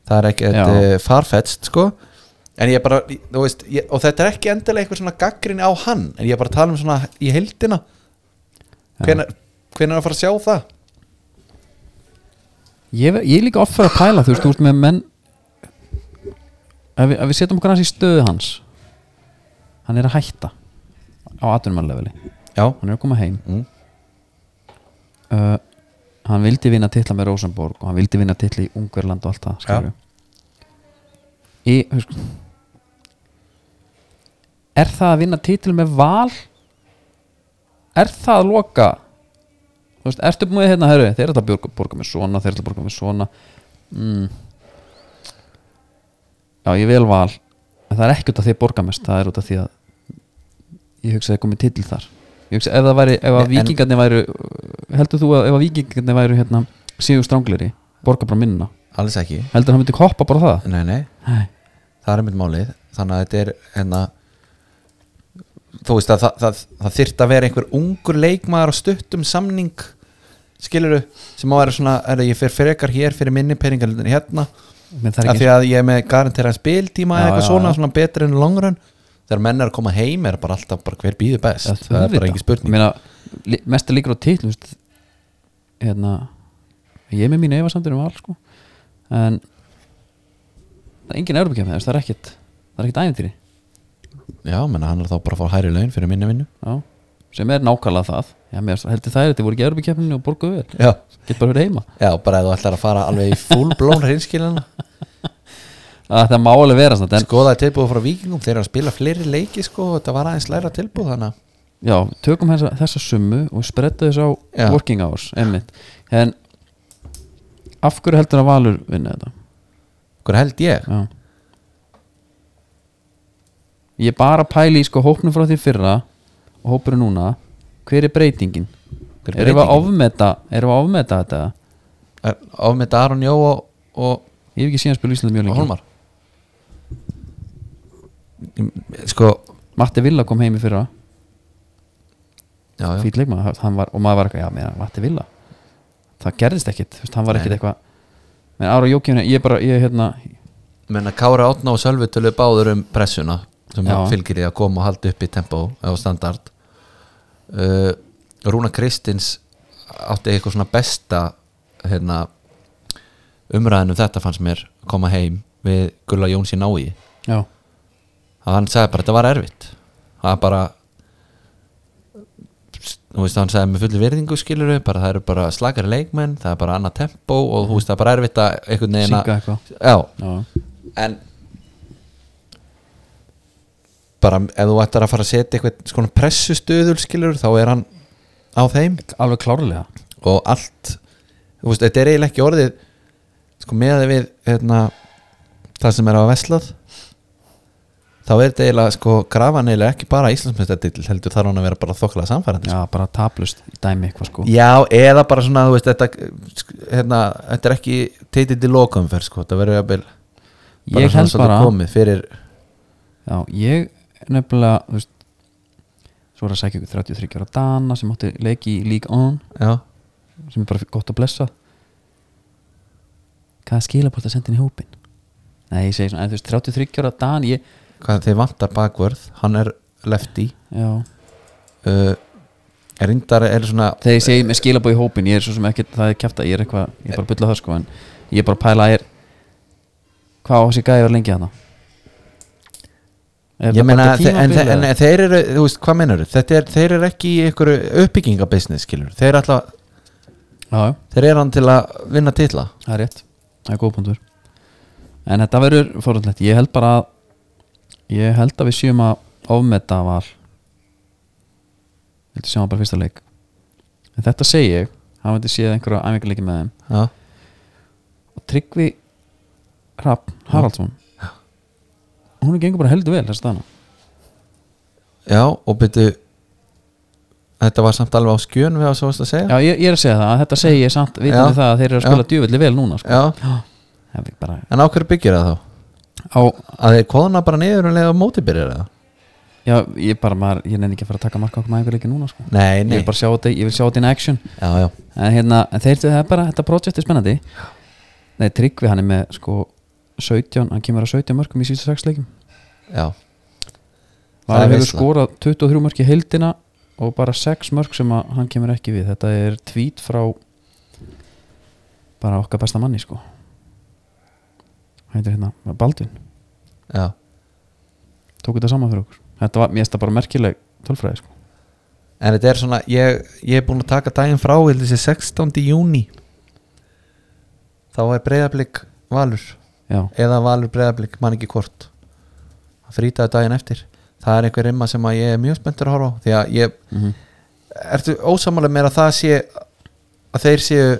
S2: það er
S1: Já.
S2: ekkert uh, farfetst sko en ég bara, þú veist ég, og þetta er ekki endilega eitthvað svona gaggrinni á hann en ég er bara að tala um svona í heildina hvenær hvenær er að fara að sjá það
S1: ég, ver- ég er líka offer að pæla þú veist, þú veist með menn ef við, ef við setjum okkur hans í stöðu hans hann er að hætta á atvinnumannlefili
S2: já,
S1: hann er að koma heim
S2: Mm.
S1: uh, hann vildi vinna titla með Rosenborg og hann vildi vinna titla í Ungverland og allt það skilurðu. í, husk, er það að vinna titla með val er það að loka þú veist, ertu búin með hérna herru, þeir eru að borga, borga með svona þeir eru að borga með svona mm. já, ég vil val en það er ekki út af því að borga mest það er út af því að ég hugsa að það komið titl þar ég hugsa ef það væri, ef að
S2: En-
S1: vikingarnir væru heldur þú að ef að vikingarnir væru hérna síðu strángleri, borga bara minna
S2: alls ekki
S1: heldur hann myndi hoppa bara á það
S2: nei, nei,
S1: Nei.
S2: það er mitt málið þannig að þetta er hérna þú veist að það, það, það þyrft að vera einhver ungur leikmaður á stuttum samning skiluru, sem á að vera svona er ég fer frekar hér fyrir minni peningar en hérna,
S1: Men það er
S2: af
S1: ekki
S2: því að ég er með garanterað spiltíma
S1: Já,
S2: eða eitthvað
S1: já,
S2: svona,
S1: já.
S2: svona betur en long run þegar menn er að koma heim er bara alltaf bara hver býður best,
S1: Já,
S2: það er
S1: auðvitað.
S2: bara ekki spurning
S1: Meina, li- mestar líkur á titl veist, hérna ég er með mínu efasamdur um all sko. en það er engin Európa-kefni, það er ekkert það er ekkert ævintýri
S2: já, menna hann er þá bara að fá hæri laun fyrir minni vinnu
S1: já, sem er nákvæmlega það já, mér fannst- heldur það er þetta voru ekki Európa-kefninu og borguðu vel
S2: já,
S1: get bara verið heima
S2: já bara að þú ætlar að fara alveg í full blown reynskilina
S1: að það má alveg vera svona, en,
S2: skoða tilbúið frá vikingum, þeir eru að spila fleiri leiki sko, þetta var aðeins læra tilbúið þannig að-
S1: já, tökum þessa, þessa summu og spretta þessu á
S2: Já.
S1: working hours einmitt. en af hverju heldur að Valur vinna þetta
S2: hver held ég
S1: Já Ég er bara að pæla í sko hópnum frá því fyrra og hópur núna hver er breytingin?
S2: Hver
S1: Erum við að ofmeta erum við að ofmeta þetta?
S2: of með Daron Jó og, og,
S1: Ég hef ekki síðan spil Ísland mjög
S2: og
S1: lengi
S2: Holmar sko
S1: Matti Villa kom heim í fyrra
S2: já, já.
S1: fýt leikma var, og maður var eitthvað, já, meina, Matti Villa það gerðist ekkit, þú veist, hann var ekkit
S2: Nei.
S1: eitthvað menn Ára Jókjumni, ég er bara, ég er hérna
S2: menna Kára Átna og Sölvi tölu báður um pressuna sem
S1: Já.
S2: fylgir í að koma og halda upp í tempo og standard uh, Rúna Kristins átti eitthvað svona besta hérna umræðinu þetta fannst mér að koma heim við Gulla Jóns í nái
S1: já,
S2: að hann sagði bara þetta var erfitt það var bara þú veist hann sagði með fulli virðingu skilur bara það eru bara slakari leikmenn það er bara annað tempo og þú veist það er bara erfitt að einhvern veginn
S1: synga
S2: að
S1: eitthvað
S2: já,
S1: já,
S2: en bara ef þú ættir að fara að setja eitthvað svona pressustuðul skilur þá er hann á þeim
S1: alveg klárlega
S2: og allt þú veist, þetta er eiginlega ekki orðið sko meða við hérna, það sem er á veslað þá er þetta eiginlega sko grafan eiginlega ekki bara Íslandsmyndstættill heldur þarf hann að vera bara þokkala samfærandi
S1: já, bara taplust, dæmi eitthvað sko
S2: Já, eða bara svona, þú veist, þetta, sk- hérna, þetta er ekki teitill í lokumferð, sko, það verður jafnvel
S1: Ég
S2: svona
S1: held
S2: svolítið
S1: bara-
S2: komið fyrir,
S1: Já, ég nefnilega þú veist, svo er að sækja ykkur 33 ára Dana sem átti leiki í League On
S2: já,
S1: sem er bara gott að blessa Hvað er skilabort að senda inn í hópin? Nei, ég segi svona, en þú veist, 33 ára Dan ég,
S2: hvað þeir vantar bakvörð hann er lefty
S1: já,
S2: uh, er reyndar er svona
S1: þegar ég segi með skilabort í hópin ég er svo sem ekki, það er kæft að ég er eitthvað ég er bara að bylla það sko, en ég er bara að pæla að ég er hvað á þessi gæði var lengi hana?
S2: ég meina, þe- en, þe- en þeir eru þú veist, hvað meinar þetta er, þeir eru ekki í einhverju uppbyggingabusiness skilur, þeir, ætla,
S1: Já, já
S2: þeir eru hann til að vinna titla
S1: Það er rétt, það er góð punktur En þetta verður fórhundlegt Ég held bara að Ég held að við séum að ofmeta val Þetta séum að bara fyrsta leik En þetta segi ég Hann veit að séð einhverja æfingarleiki með þeim
S2: já,
S1: Og Tryggvi Rapp Haraldsson Hún gengur bara heldur vel þess staðna
S2: já og byrju þetta var samt alveg á skjön við að svo varst að segja
S1: Já, sko. ég, ég er að segja það, þetta segi ég samt Vitandi
S2: Já.
S1: það að þeir eru að spila djúvillig vel núna sko.
S2: Já.
S1: Það er bara
S2: en á hverju byggir það þá?
S1: á,
S2: að þeir kóðna bara niður um leið og móti byrjar það?
S1: Já, ég bara, maður, ég nenni ekki að fara að taka marka okkur með æfingarleiki núna sko.
S2: nei,
S1: Ég
S2: nei,
S1: vil bara sjá þetta, ég vil sjá þetta in action
S2: já, já,
S1: en hérna, en þeir, það er bara, þetta projekt er spennandi Nei, Tryggvi hann er með sko 17, hann kemur að 17 mörgum í síðustu 6 leikum
S2: já Það er
S1: hann hefur
S2: veisla.
S1: skorað 23 mörg í heildina og bara 6 mörg sem að hann kemur ekki við þetta er tvít frá bara okkar besta manni sko hann heitir hérna, Baldvin
S2: já,
S1: tók þetta saman fyrir okkur þetta var, mér finnst það bara merkileg tölfræði sko
S2: En þetta er svona, ég, ég er búin að taka daginn frá til þessi 16. júni þá er breyðablík valur
S1: já,
S2: eða valur breyðablík, man ekki hvort að frýtaði daginn eftir það er einhver rimma sem að ég er mjög spenntur að horfa á því að ég,
S1: mm
S2: ertu ósamálega mér að það sé að þeir séu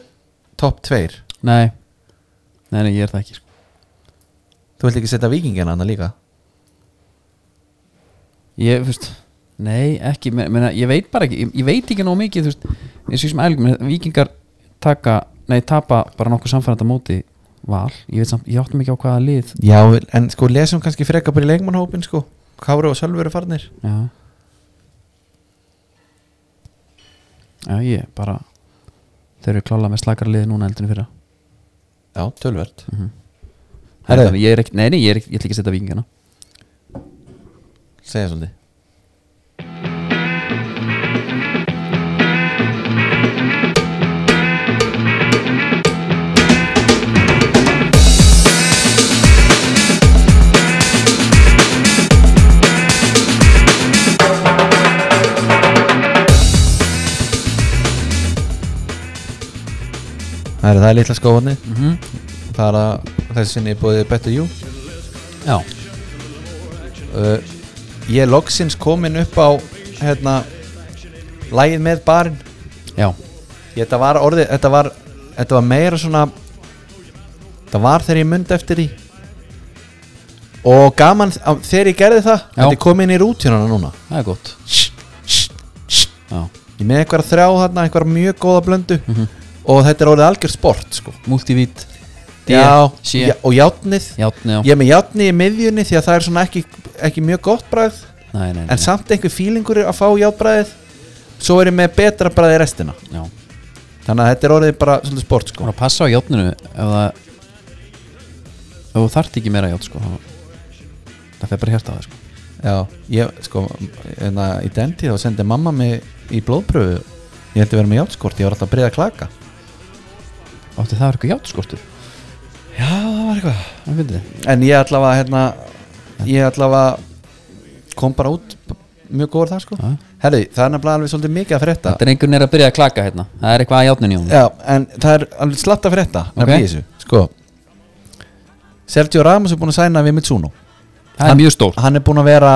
S2: topp tveir
S1: nei nei, nei, ég er það ekki sko
S2: þú vilt ekki setja vikingina annað líka
S1: ég, þú veist nei, ekki, me- meina, ég veit bara ekki ég, ég veit ekki nóg mikið, þú veist eins og ég sem ælgum, vikingar taka nei, tapa bara nokkuð samfæranda móti val ég veit samt, ég áttum ekki á hvaða lið
S2: Já, en sko lesum kannski frekar bara í leikmannhópin sko Kári og Sölvi eru farnir
S1: já já ég bara þeir eru klála með slakara lið núna eldinu fyrra
S2: Já, tölvert Herðu.
S1: Herðu. ég er ekki, nei, nei, ég, er, ekki- ég ætla ekki að setja vikingana
S2: Segja svolítið Það er það er litla skóðni
S1: mm -hmm.
S2: bara þessi sinni búið Better You
S1: já,
S2: uh, ég er loksins komin upp á hérna lægið með barinn
S1: já,
S2: ég, þetta var orðið, þetta var þetta var meira svona þetta var þegar ég myndi eftir því og gaman á- þegar ég gerði það,
S1: Já.
S2: þetta er komin í rútjunana núna
S1: það er gott já,
S2: ég er með einhverja þrjá þarna, einhverja mjög góða blöndu og þetta er orðið algjör sport sko.
S1: multivít D,
S2: já,
S1: C.
S2: já, og játnið
S1: játni á
S2: ég er með játnið í miðjunni því að það er svona ekki, ekki mjög gott bræð
S1: nei, nei, nei,
S2: en samt einhver fílingur að fá játbræðið svo er ég með betra bræði restina
S1: já
S2: þannig að þetta er orðið bara svolítið sport
S1: Þú
S2: sko.
S1: voru að passa á játninu ef það ef þú þart ekki meira játn sko þá- það fer bara hérta á það sko
S2: já, ég, sko en að í den tíð þá sendi mamma mig í blóðpröfu ég held að vera með játskort, ég var alltaf að breyða klaka
S1: átti það er eitthvað játnskortur
S2: já, það var eitthvað
S1: það finnir þið
S2: en ég allavega, hérna ég allavega kom bara út b- mjög góður þar sko
S1: Já.
S2: herri, það er nefnilega alveg svolítið mikið að frétta
S1: þetta er einhvern veginn að byrja að klaka hérna það er eitthvað að játninu í hún
S2: já, en það er alveg slatt að frétta okay.
S1: Ok.
S2: þessu, sko Sergio Ramos er búin að sæna við Mitsuno
S1: það er
S2: Hann-
S1: mjög stór
S2: hann er búin að vera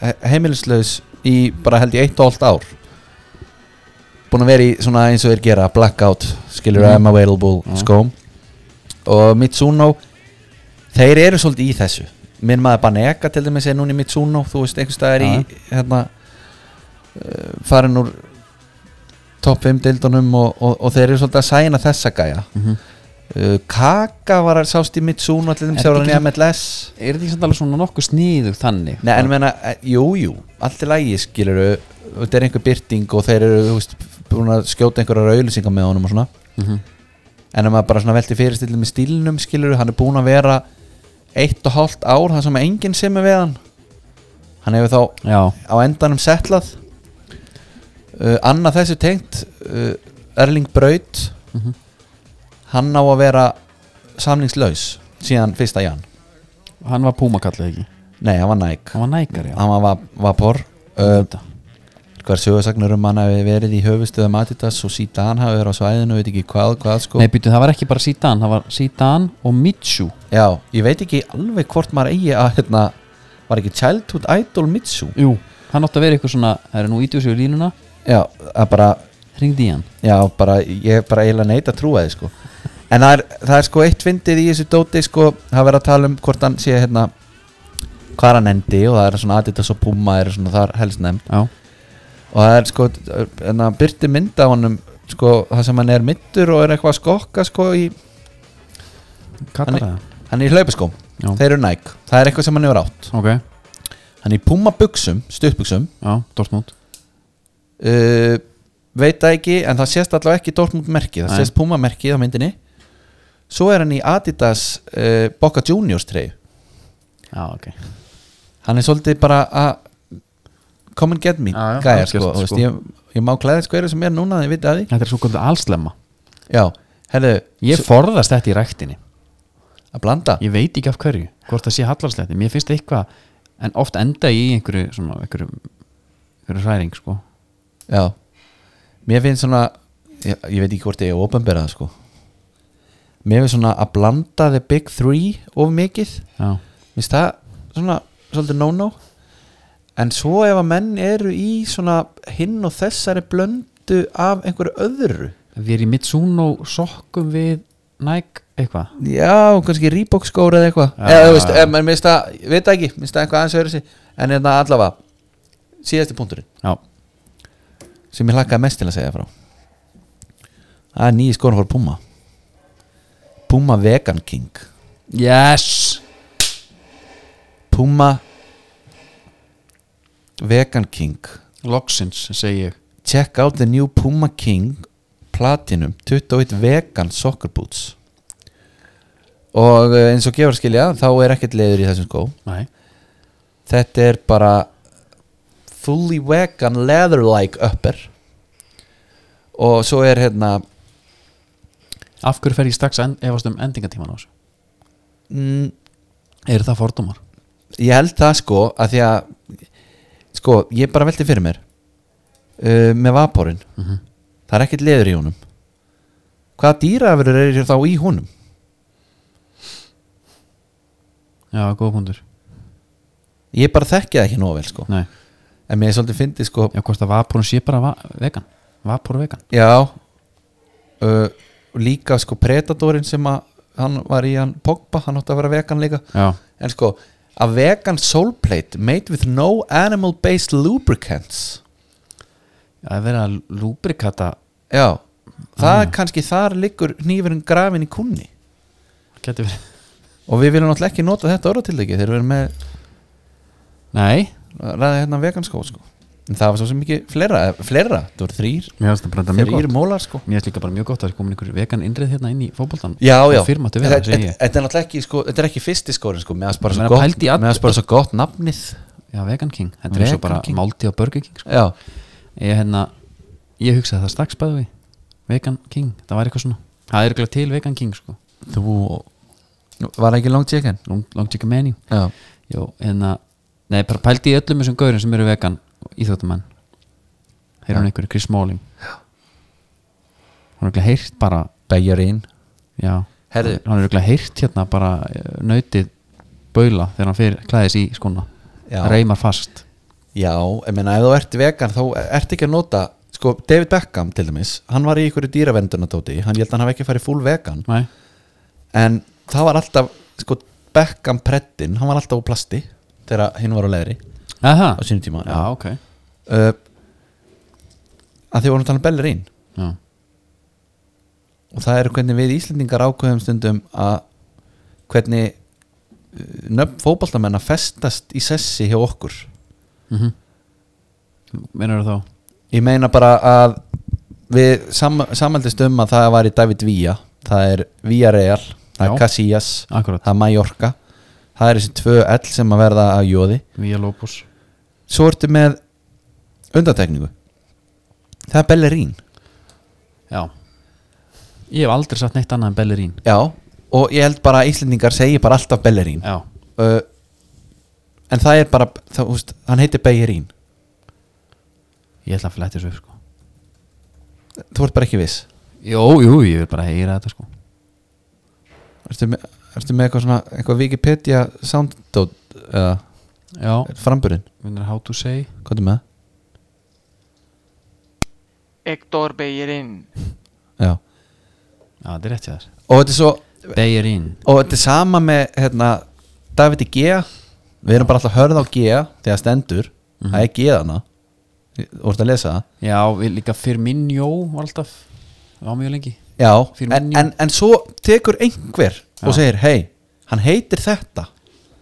S2: he- heimilislaus í bara held ég eitt og allt ár búin að vera í svona eins og þeir gera blackout, skilur
S1: Mhm.
S2: I'm available
S1: Já.
S2: skóm og Mitsuno þeir eru svolítið í þessu minn maður Banega til dæmis er núna í Mitsuno þú veist einhvers staðar í hérna, uh, farin úr top 5 dildunum og, og, og þeir eru svolítið að sæna þessa gæja
S1: Mhm.
S2: uh, Kaka var að sást í Mitsuno til
S1: Er
S2: dæmis
S1: þetta
S2: þegar hann
S1: ekki
S2: í MLS
S1: er þetta ekki samt alveg svona nokkuð sníðug þannig
S2: Nei, en meina, eh, jú, jú, allt í lagi skilur þetta er einhver byrting og þeir eru, þú veist, búin að skjóta einhverjar auðlýsingar með honum og svona
S1: Mhm.
S2: en ef maður bara svona velti fyrirstillin með stílnum skilur, hann er búin að vera eitt og hálft ár, það sem enginn sem er við hann hann hefur þá
S1: já,
S2: á endanum setlað uh, annað þessu tengt uh, Erling Braut
S1: Mhm.
S2: hann á að vera samningslaus síðan 1. jan
S1: hann var púmakallið ekki
S2: nei, hann var næk
S1: hann var nækar já
S2: hann var va- vapor uh,
S1: Þetta.
S2: Hver sögursagnur um hann hafi verið í höfustöðum Adidas og Zidane hafi verið á svæðinu veit ekki hvað, hvað sko
S1: nei býtu það var ekki bara Sítan það var Sítan og Mitsu
S2: Já, ég veit ekki alveg hvort maður eigi að hérna, var ekki Childhood Idol Mitsu
S1: jú hann átti að vera eitthvað svona það er nú ídjóðsjóðu línuna
S2: Já, að bara,
S1: hringdi í hann
S2: já, bara ég er bara eiginlega neitt að trúa þið sko En það er, það er sko eitt fyndið í þessu dóti sko, það verið að tala um hvort hann sé hérna hvað hann endi og það er svona Adidas og Puma eru svona þar helst nefnd
S1: já
S2: og það er sko en það byrti mynd af honum sko, það sem hann er myndur og er eitthvað að skokka sko í,
S1: kallar það
S2: hann er í hlaupaskóm
S1: Já.
S2: þeir eru næk, það er eitthvað sem hann hefur átt
S1: ok
S2: hann er í púma buksum, stuttbuksum
S1: já Dortmund
S2: uh, veit það ekki, en það sést allavega ekki Dortmund merki, það
S1: Nei.
S2: sést púma merki á myndinni svo er hann í Adidas uh, Boca Juniors treyju
S1: já ok
S2: hann er svolítið bara að come and get me,
S1: Já, já,
S2: gæjar
S1: algjört,
S2: sko, sko.
S1: sko.
S2: Veist, ég, ég má klæða sko eru sem er núna þið vitið að því,
S1: Þetta er svo kvöldu allslemma
S2: já, herðu
S1: Ég forðast þetta í ræktinni
S2: að blanda
S1: Ég veit ekki af hverju, hvort það sé hallarsletti Mér finnst eitthvað, en oft enda ég í einhverju svona, einhverju, einhverju hræring sko.
S2: Já Mér finnst svona Ég, ég veit ekki hvort ég er ofanberað sko Mér finnst svona að blanda the big three of mikið
S1: Já,
S2: Mér finnst það svona svolítið no-no En svo ef að menn eru í svona hinn og þessari blöndu af einhverju öðru
S1: við erum í Mitsuno sokkum við Nike eitthvað
S2: Já, kannski Reebok skóra eða eitthvað
S1: Já,
S2: Eða þú
S1: já,
S2: veist,
S1: já.
S2: en mér finnst það, ég veit það ekki Mér finnst það eitthvað aðeins öðru sig En hérna allavega, síðasti punkturinn
S1: Já,
S2: sem ég hlakkaði mest til að segja frá það er nýji skóna fór Puma Puma Vegan King
S1: Yes
S2: Puma Vegan King
S1: Loksins, segi ég
S2: Check out the new Puma King Platinum 21 vegan soccer boots og eh, eins og gefur að skilja þá er ekkert leiður í þessum skó
S1: Nei
S2: þetta er bara fully vegan leather like upper og svo er hérna
S1: Af hverju fer ég strax að en- efast um endingatíman á þessu?
S2: mm,
S1: Eru það fordómar?
S2: ég held það sko að því að sko ég bara velti fyrir mér uh, með vaporinn
S1: Mhm.
S2: það er ekkert leður í honum hvaða dýraverur er þá í honum
S1: Já, góða punktur
S2: ég bara þekki það ekki nóg vel sko
S1: Nei
S2: en mér er svolítið fyndið sko
S1: Já, hvort að vaporun sé bara va vegan Vapor vegan
S2: já uh, og líka sko Predatorinn sem að hann var í hann Pogba, hann átti að vera vegan líka
S1: Já
S2: en sko a vegan soulplate made with no animal based lubricants
S1: Það er verið að lúbrikata
S2: já það er kannski þar liggur nýfurinn grafin í kunni
S1: Geti verið
S2: og við viljum náttúrulega ekki nota þetta orðatildegi þegar við erum með
S1: Nei
S2: að ræða hérna veganskó sko en það var svo sem ekki fleira, eh, fleira, það voru þrýr
S1: Mér finnst það bara þetta mjög
S2: þrýr
S1: gott
S2: mólar sko
S1: Mér finnst líka bara mjög gott að það er komin einhver vegan innrið hérna inn í fótboltan
S2: já, já,
S1: Fyrir máttu vera,
S2: þetta
S1: segi ég
S2: þetta er náttúrulega ekki sko, þetta er ekki fyrsti skórin sko, meðan bara, svo
S1: Meina,
S2: gott-
S1: pældi í all-
S2: meðan bara svo gott nafnið
S1: Já, vegan king Þetta er eins og
S2: Vegan
S1: bara
S2: King.
S1: málti á Burger King sko.
S2: já,
S1: Ég hérna Ég hugsaði það strax bæðu við Vegan king Það var eitthvað svona Það er eitthvað til vegan king sko
S2: þú var það ekki long chicken
S1: Long, long chicken menu
S2: já,
S1: Jó, hérna Nei, bara pældi í öllum þessum gaurin sem eru vegan Íþjóttamenn Þeir eru
S2: Já.
S1: hann einhverju Chris Smalling Hann er eitthvað heyrt bara
S2: bæjarín
S1: Já
S2: Herðu.
S1: Hann er eitthvað heyrt hérna bara eh, Nautið baula þegar hann fyrir klæðis í skona
S2: Já.
S1: Reimar fast
S2: já, ég meina ef þú ert vegan þá ert ekki að nota, sko David Beckham til dæmis, hann var í ykkur dýravendunatóti hann ég held að hann hafi ekki farið full vegan
S1: Nei,
S2: en það var alltaf, sko Beckham preddin, hann var alltaf úr plasti þegar hinn var á leðri
S1: eða
S2: á sínum tíma
S1: Já, ok
S2: Uh, að því vorum að tala um bellerín
S1: Já,
S2: og það er hvernig við Íslendingar ákveðum stundum að hvernig uh, nöfn fótballtamenn að festast í sessi hjá okkur
S1: mm Menar þú þá?
S2: ég meina bara að við sam, samhældist um að það var í David Villa það er Villarreal,
S1: Já.
S2: það er Casillas
S1: Akkurat
S2: það er Mallorca það er þessi tvö ell sem að verða að jóði
S1: Vía Lopus
S2: svo ertu með undantekningu það er bellerín
S1: Já Ég hef aldrei sagt neitt annað en Bellerín
S2: já, og ég held bara að Íslendingar segi bara alltaf bellerín
S1: Já,
S2: uh, en það er bara það, úst, hann heitir Beirín
S1: ég ætla að flætti þessu upp sko
S2: þú ert bara ekki viss
S1: Jó, jú, ég vil bara heyra þetta sko
S2: ertu með, ertu með eitthvað, svona, eitthvað Wikipedia soundót uh,
S1: Já,
S2: framburinn,
S1: minnir how to say
S2: hvað er með
S3: Héctor Bellerín.
S2: það já.
S1: Já, þetta er rétt hjá þér
S2: og þetta er svo
S1: Bellerín
S2: og þetta er sama með hérna, Davidi Gea við erum bara alltaf hörð á Gea þegar stendur, það er Geana þú ert að lesa það
S1: Já, við líka Firminjó var alltaf á mjög lengi
S2: já,
S1: Fyrir
S2: en,
S1: minni.
S2: en, en svo tekur einhver og
S1: Já.
S2: segir, hei, hann heitir þetta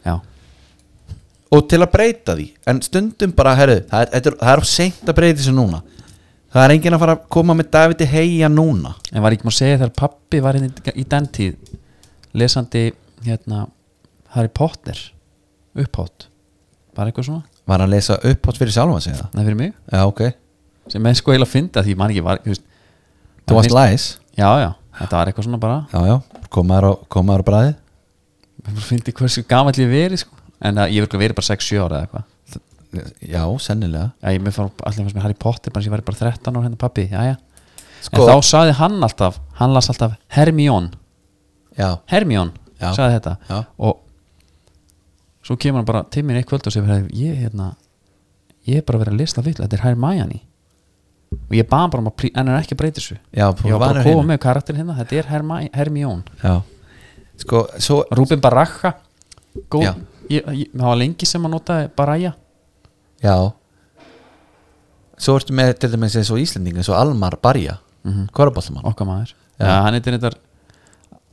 S1: Já,
S2: og til að breyta því en stundum bara, herru, það er, þetta er, það er of seint að breyta þessu núna það er enginn að fara að koma með Davidi heia núna
S1: en var ekki maður að segja þegar pappi var hérna í- í den tíð lesandi hérna Harry Potter upphátt bara eitthvað svona,
S2: var hann að lesa upphátt fyrir sjálfan sig það
S1: það er fyrir mig
S2: já, ok,
S1: sem er sko eiginlega að finna því mann ekki var þú veist,
S2: þú varst læs
S1: Já, já, þetta var eitthvað svona bara
S2: já, já, komaður á, komaður á bræði
S1: maður fyndi hversu gamall ég veri sko. en að, ég hef örugglega verið bara 6-7 ára eða eitthvað
S2: já, sennilega
S1: Já, ég mér fór allir einhvers með Harry Potter bara sem ég væri bara 13 ára hérna pappi, já já
S2: Sko-
S1: En þá saði hann alltaf, hann las alltaf Hermione,
S2: já,
S1: Hermione
S2: Já.
S1: saði þetta
S2: Já.
S1: og svo kemur hann bara til mér eitt kvöld og segir, "Hey, ég hérna ég er bara verið að lista vill, þetta er Hermione og ég baðan bara um að plí- en hann er ekki að breyta þessu
S2: Já,
S1: ég var bara að koma með karakter hérna, þetta er Hermi, Hermione
S2: já sko, svo,
S1: Rúbin Baraka góð,
S2: Já.
S1: ég, ég, það var lengi sem að notaði Baraja
S2: já svo ertu með til dæmis
S1: Mhm.
S2: eins og Íslendinga eins og Almar Barja, mm -hmm.
S1: okkar maður
S2: Já.
S1: já. hann heitir þetta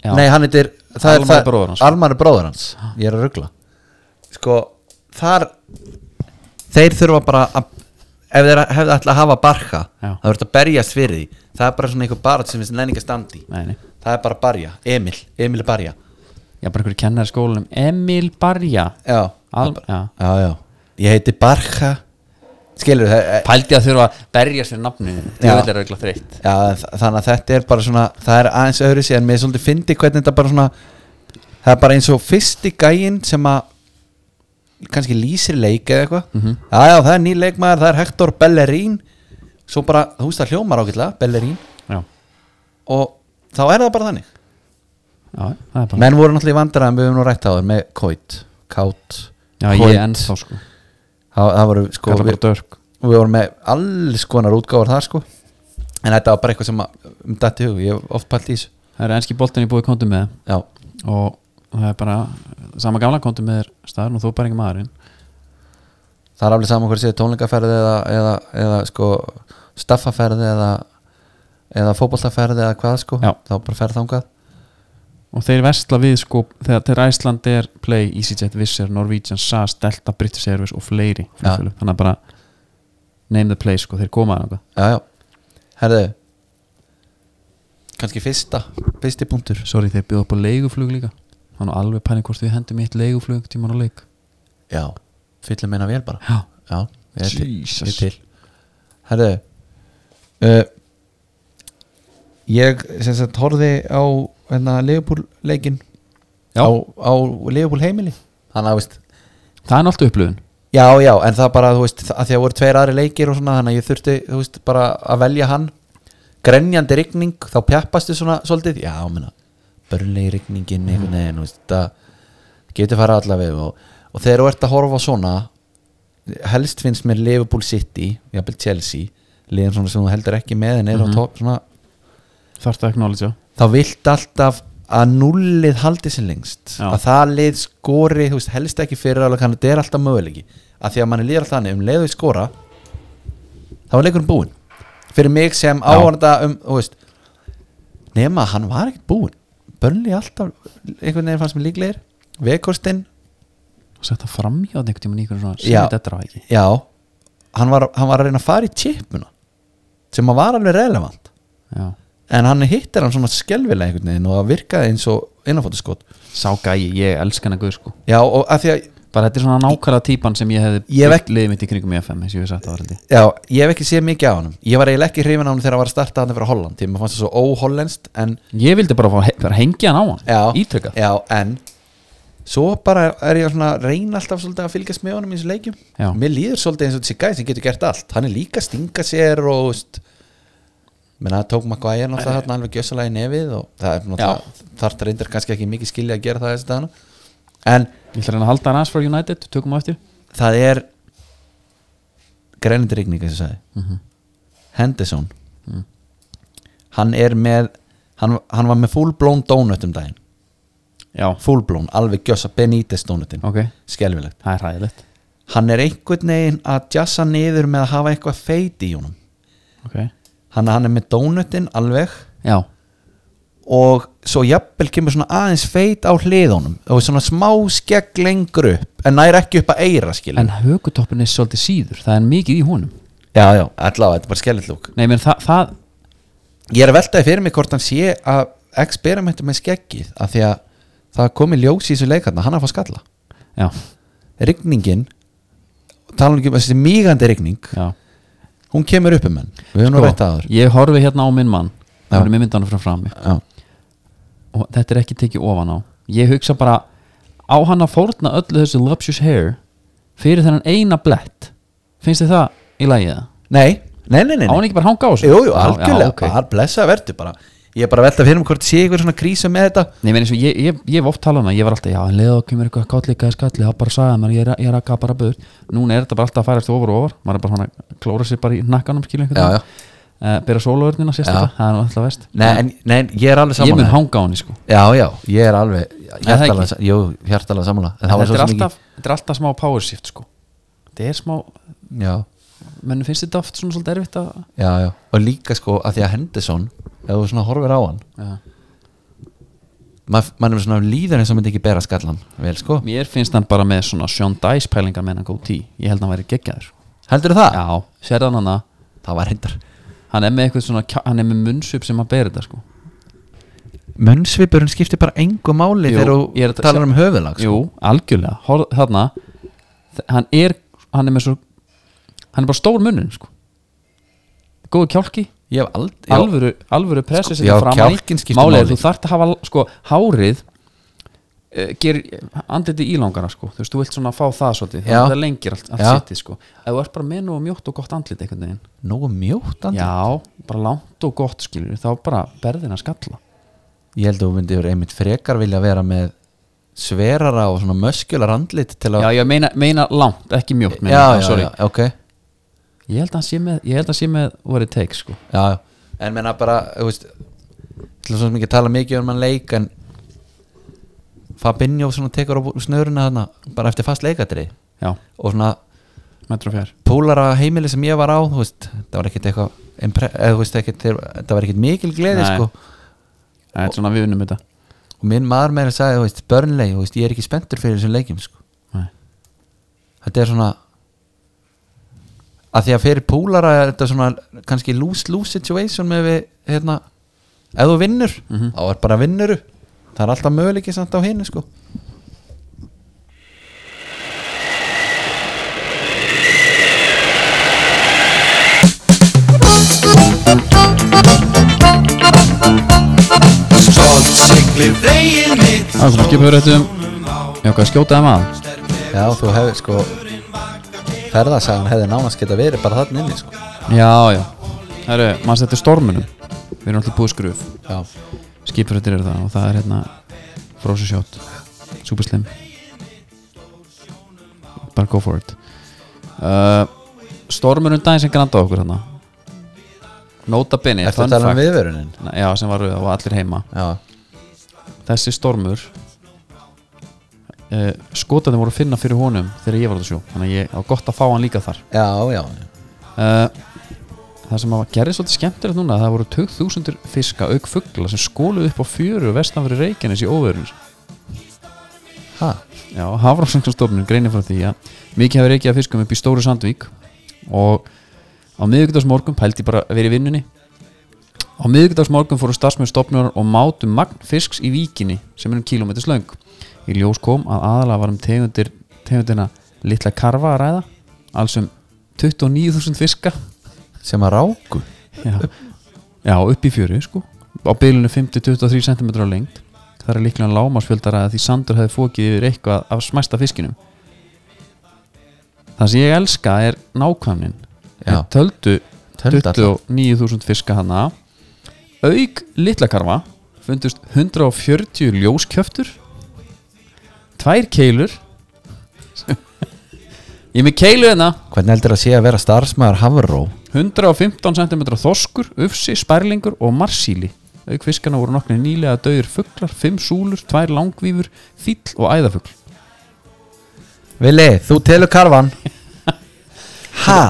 S1: Já.
S2: Nei, hann heitir það er
S1: Almari
S2: það-
S1: bróðir hans.
S2: Almari bróður hans Ég er að ruggla Sko, þar Þeir þurfa bara að Ef þeir hefði alltaf að hafa barka
S1: Já.
S2: Það verður að berjast fyrir því Það er bara svona einhver barat sem við nenninga standi
S1: Nei, nei.
S2: Það er bara að barja, Emil, Emil er barja
S1: Já, bara einhverju kennar í skólanum Emil Barja
S2: Já,
S1: Al, já.
S2: já, já Ég heiti barka Skilur það,
S1: Pældi að þurfa að berja sér nafninu
S2: Já.
S1: Djöfull er regla þreytt
S2: Já, þa- þannig að þetta er bara svona það er aðeins öðru sér en mér er svolítið fyndi hvernig þetta bara svona það er bara eins og fyrsti gæinn sem að kannski lýsir leik eða eitthvað
S1: Mhm.
S2: já, já, það er ný leikmaður, það er Hector Bellerín svo bara, þú veist það hljómar ágætlega Bellerín
S1: Já,
S2: og þá er það bara þannig
S1: já það er bara
S2: menn voru náttúrulega í vandræðum, við höfum nú rætt á þér með Kóit, Kátt
S1: Já, ég er ennþá sko
S2: það, það voru sko
S1: Kalla
S2: við,
S1: bara dörk
S2: við vorum með alls konar útgáfur þar sko en þetta var bara eitthvað sem að, um dætti hug, ég hef oft pælt í þessu
S1: Það er ennski boltin í búið kontum með það.
S2: já,
S1: og það er bara sama gamla kontum með þér staðurinn og þú bara ekki maðurinn
S2: það er alveg saman hvort séð tónleikaferði eða, eða, eða sko staffaferði eða, eða fótboltaferði eða hvað sko
S1: Já.
S2: þá bara ferð þangað
S1: og þeir versla við sko þegar þeir Æsland er Play, EasyJet, Visser, Norwegian SAS, Delta, British Airways og fleiri
S2: Já.
S1: flugfélög. þannig að bara name the play sko, þeir koma að
S2: já, já, herðu kannski fyrsta fyrsti punktur
S1: sorry, þeir byggðu upp á leiguflug líka þannig að alveg pæling hvort við hendum í eitt leiguflug tíman á leik
S2: já, fyllum eina vel bara
S1: já,
S2: já, ég er til,
S1: Jesus.
S2: ég er til. herðu uh, ég sem sagt horfði á hérna leifbúl leikin
S1: Já.
S2: á, á leifbúl heimili þannig að veist
S1: það er náttúrulega upplöfun
S2: Já, já, en það bara, þú veist, að því að voru tveir aðri leikir og svona, þannig að ég þurfti, þú veist, bara að velja hann grenjandi rigning, þá pjappastu svona svolítið, já, menna, börnlegi rigningin einhvern veginn, þú veist, það getur fara allaveg og, og þegar þú ert að horfa á svona helst finnst mér Liverpool City jafnvel Chelsea, liðin svona sem þú heldur ekki með en er á topp, svona
S1: þarftu að acknowledge á
S2: þá vilt alltaf að nullið haldi sér lengst
S1: Já.
S2: að það lið skori, þú veist, helst ekki fyrir alveg kannar, þetta er alltaf möguleiki að því að manni líður alltaf þannig, um leiðu skora þá var leikurinn búinn fyrir mig sem áhanda um, þú veist nema að hann var ekkert búinn börnli alltaf, einhvern veginn fannst mér líklegir vekorstinn,
S1: og setja fram hjá einhvern tíman í einhvern svona sem
S2: Já.
S1: þetta drá ekki
S2: já hann var, hann var að reyna að fara í tippuna sem að var alveg relevant
S1: já.
S2: en hann hittir hann svona skelvilega einhvern veginn og það virkaði eins og innanfóttaskot
S1: sá gæi, ég elska hana guð sko
S2: Já, og að því að
S1: bara þetta er svona nákvæmlega típan sem ég hefði
S2: Ég hef
S1: byggt liðið mitt í kringum í FM eins og ég hef sagt það var held ég.
S2: Já, ég hef ekki séð mikið á honum Ég var eiginlega ekki hrifin á honum þegar hann var að starta hann fyrir Holland Því maður fannst það svo óhollenskt En,
S1: ég vildi bara fá að he- bara hengja hann á hann
S2: já,
S1: ítrekað
S2: já, en Svo bara er ég svona að reyna alltaf svolítið að fylgjast með honum í þessu leikjum
S1: Já.
S2: Mér líður svolítið eins og þessi gæð sem getur gert allt Hann er líka að stinga sér og veist, Menna, tók Maguire náttúrulega hann alveg gjössalega í nefið og það er náttúrulega þarft reyndar kannski ekki mikið skilja að gera það þessi dagana En
S1: ég ætla að reyna að halda hann aðeins frá United, tökum á eftir
S2: það er grænandi rigning eins og sagði Henderson hann er með hann, hann var með full blown donut um daginn
S1: já,
S2: full blown, alveg gjösa Benítez donutin
S1: ok,
S2: skelfilegt,
S1: það er hræðilegt
S2: hann er einhvern veginn að jassa niður með að hafa eitthvað feit í honum
S1: ok,
S2: hann, hann er með donutin alveg
S1: já,
S2: og svo jafnvel kemur svona aðeins feit á hliðunum og svona smá skegg lengur upp en nær ekki upp að eira skilur
S1: en högutoppin er svolítið síður það er mikið í honum
S2: já, já, allavega, þetta er bara skellit lúk
S1: nei, menn það, það
S2: ég er að veltaði fyrir mig hvort hann sé að experimenta með skeggið af því að það komi ljós í þessu leikarna hann er að fá skalla
S1: já,
S2: rigningin tala nú ekki um þessi mígandi rigning
S1: já Sko,
S2: hún kemur upp um henn við höfum nú rætt að
S1: ég horfi hérna á minn mann
S2: Já.
S1: það er með myndanum frá frammi
S2: það
S1: og þetta er ekki tekið ofan á ég hugsa bara á hann að fórna öllu þessu luxus hair fyrir þennan eina blett finnst þið það í lagið það?
S2: nei, nei, nei, nei,
S1: á hann
S2: nei.
S1: ekki bara að hanga á þessu?
S2: jú, jú,
S1: Já, já,
S2: algjörlega,
S1: ok.
S2: bara blessa verður bara ég er bara að velta fyrir mig hvort sé ykkur svona krísu með þetta
S1: Nei, ég meina eins og ég, ég, ég hef oft talað um það, ég var alltaf, já, en leða og kemur eitthvað kállikaði skalli, það bara sagði maður, ég er, að- ég er að gapa bara böður. Núna er þetta bara alltaf að færast ofur og ofur, maður er bara svona að klóra sér bara í nakkanum, skilja einhvern
S2: Já, já.
S1: Uh, bera sólaverðina, sérstaklega,
S2: Já.
S1: það er nú alltaf vest.
S2: nei, en, nei, en ég er alveg
S1: ég mun
S2: samanlega
S1: hanga á henni, sko.
S2: já, já, ég er alveg
S1: það ekki.
S2: hjartalega, jú, hjartalega samanlega en
S1: En
S2: það var
S1: Þetta
S2: svo
S1: er,
S2: sem
S1: alltaf, þetta er alltaf smá power shift, sko. Þetta er smá,
S2: ekki já,
S1: mennum finnst þetta oft svona svolítið erfitt að...
S2: já, já, og líka sko að því að Henderson ef þú svona horfir á hann
S1: Já.
S2: Mað- mann er svona líður eins og myndi ekki bera skallan vel sko,
S1: Mér finnst hann bara með svona Sean Dice pælingar með hann góð tí Ég held hann væri geggjaður
S2: heldur það?
S1: Já, sérðan hann að
S2: það var reyndar
S1: Hann er með eitthvað svona, kjá- hann er með munnsup sem hann ber þetta sko
S2: mönnsvipurinn skiptir bara engu máli
S1: Jú,
S2: þegar
S1: ég er
S2: þú
S1: að-
S2: talar um höfulag sko.
S1: Jú, algjörlega, Horf, þarna þ- hann er, hann er með svo hann er bara stór munnin sko góðu kjálki,
S2: ég hef ald, já, Sko,
S1: alvöru, alvöru pressu
S2: já,
S1: setja fram
S2: kjálkinn skiptir
S1: málið er
S2: máli.
S1: þú þarft að hafa sko, hárið uh, ger andliti ílangana sko þú veist, þú vilt svona fá það svolítið
S2: Já.
S1: það er lengir allt, allt
S2: Já.
S1: sittið sko ef þú ert bara með nú mjótt og gott andliti einhvern veginn
S2: nógu mjótt andlit.
S1: já, bara langt og gott skilur þá bara berðin að skalla
S2: ég held að þú myndi verið einmitt frekar vilja vera með sverara og svona möskjular andlit til að
S1: já, ég meina, meina langt, ekki mjótt meina,
S2: já,
S1: ég,
S2: já,
S1: sorry.
S2: já, ok já,
S1: Ég held að hann sé með, ég held að hann sé með what it takes sko
S2: já. en menna bara, þú veist til þess að mikið tala mikið um hann leik en Fabinho svona tekur á snöruna þarna bara eftir fast leikatri
S1: Já,
S2: og svona
S1: metro fjær
S2: púlara heimili sem ég var á þú veist, það var ekkit eitthvað impre- eða þú veist ekkit, það var ekkit mikil gleði
S1: Nei.
S2: sko
S1: Það er svona við unnum þetta
S2: og minn maður meira sagði, þú veist, börnlegi þú veist, ég er ekki spenntur fyrir þessum leikjum sko
S1: Nei.
S2: þetta er svona að því að fyrir púlara er þetta svona kannski lose-lose situation með við hérna, ef þú vinnur
S1: Mhm.
S2: þá er bara vinnuru það er alltaf möguleiki samt á hinu sko
S1: Það er svona skipur rétt um Já, hvað skjótaði maður?
S2: já þú hefur sko ferðasagan hefði nánast geta verið bara þarna inni sko
S1: Já, já Herru, maður setja stormunum Við erum alltaf búið skruf
S2: já.
S1: Skipur réttir eru það og það er hérna Frozen shot Super slim Bara go for it uh, Stormunum daginn sem grandaði okkur hérna Nota bene
S2: eftir að
S1: fun
S2: tala um
S1: fact.
S2: viðvörunin
S1: Já, sem var rauða og allir heima
S2: já,
S1: þessi stormur uh, skotandi voru að finna fyrir honum þegar ég var út að sjó þannig að ég á gott að fá hann líka þar
S2: já, já,
S1: uh, það sem að gerði svolítið skemmtilegt núna það voru 2000 fiska auk fuggla sem skóluðu upp á fjöru og vestan fyrir Reykjanes í óverunir
S2: ha
S1: Já, Hafrannsóknastofnun greinir frá því að mikið hefur reykjað fiskum upp í Stóru Sandvík og á miðvíkudagsmorgun pældi ég bara að vera í vinnunni á miðvíkudagsmorgun fóru starfsmenn stofnunar og mátu magn fisks í víkinni sem er um kílómetri slöng í ljós kom að aðalega var um tegundir, tegundina litla karfa að ræða alls um 29.000 fiska
S2: sem að ráku
S1: já, já upp í fjöru sko á bylunni 50-23 cm á lengt það er líklega lámasfjöldaræða því Sandur hefði fókið yfir eitthvað af smæsta fiskinum það sem ég elska er nákvæmnin
S2: Já.
S1: Þeir töldu
S2: Töldu alla.
S1: 29.000 fiska hana auk litlakarfa fundust 140 ljóskjöftur tvær keilur ég er með keilu hérna
S2: hvernig heldur að sé að vera starfsmæður hafró
S1: 115 cm þoskur, ufsi, spærlingur og marsíli auk fiskana voru nokkni nýlega döður fuglar, fimm súlur, tvær langvífur fýll og æðafugl
S2: Vili, þú telur karvan Ha?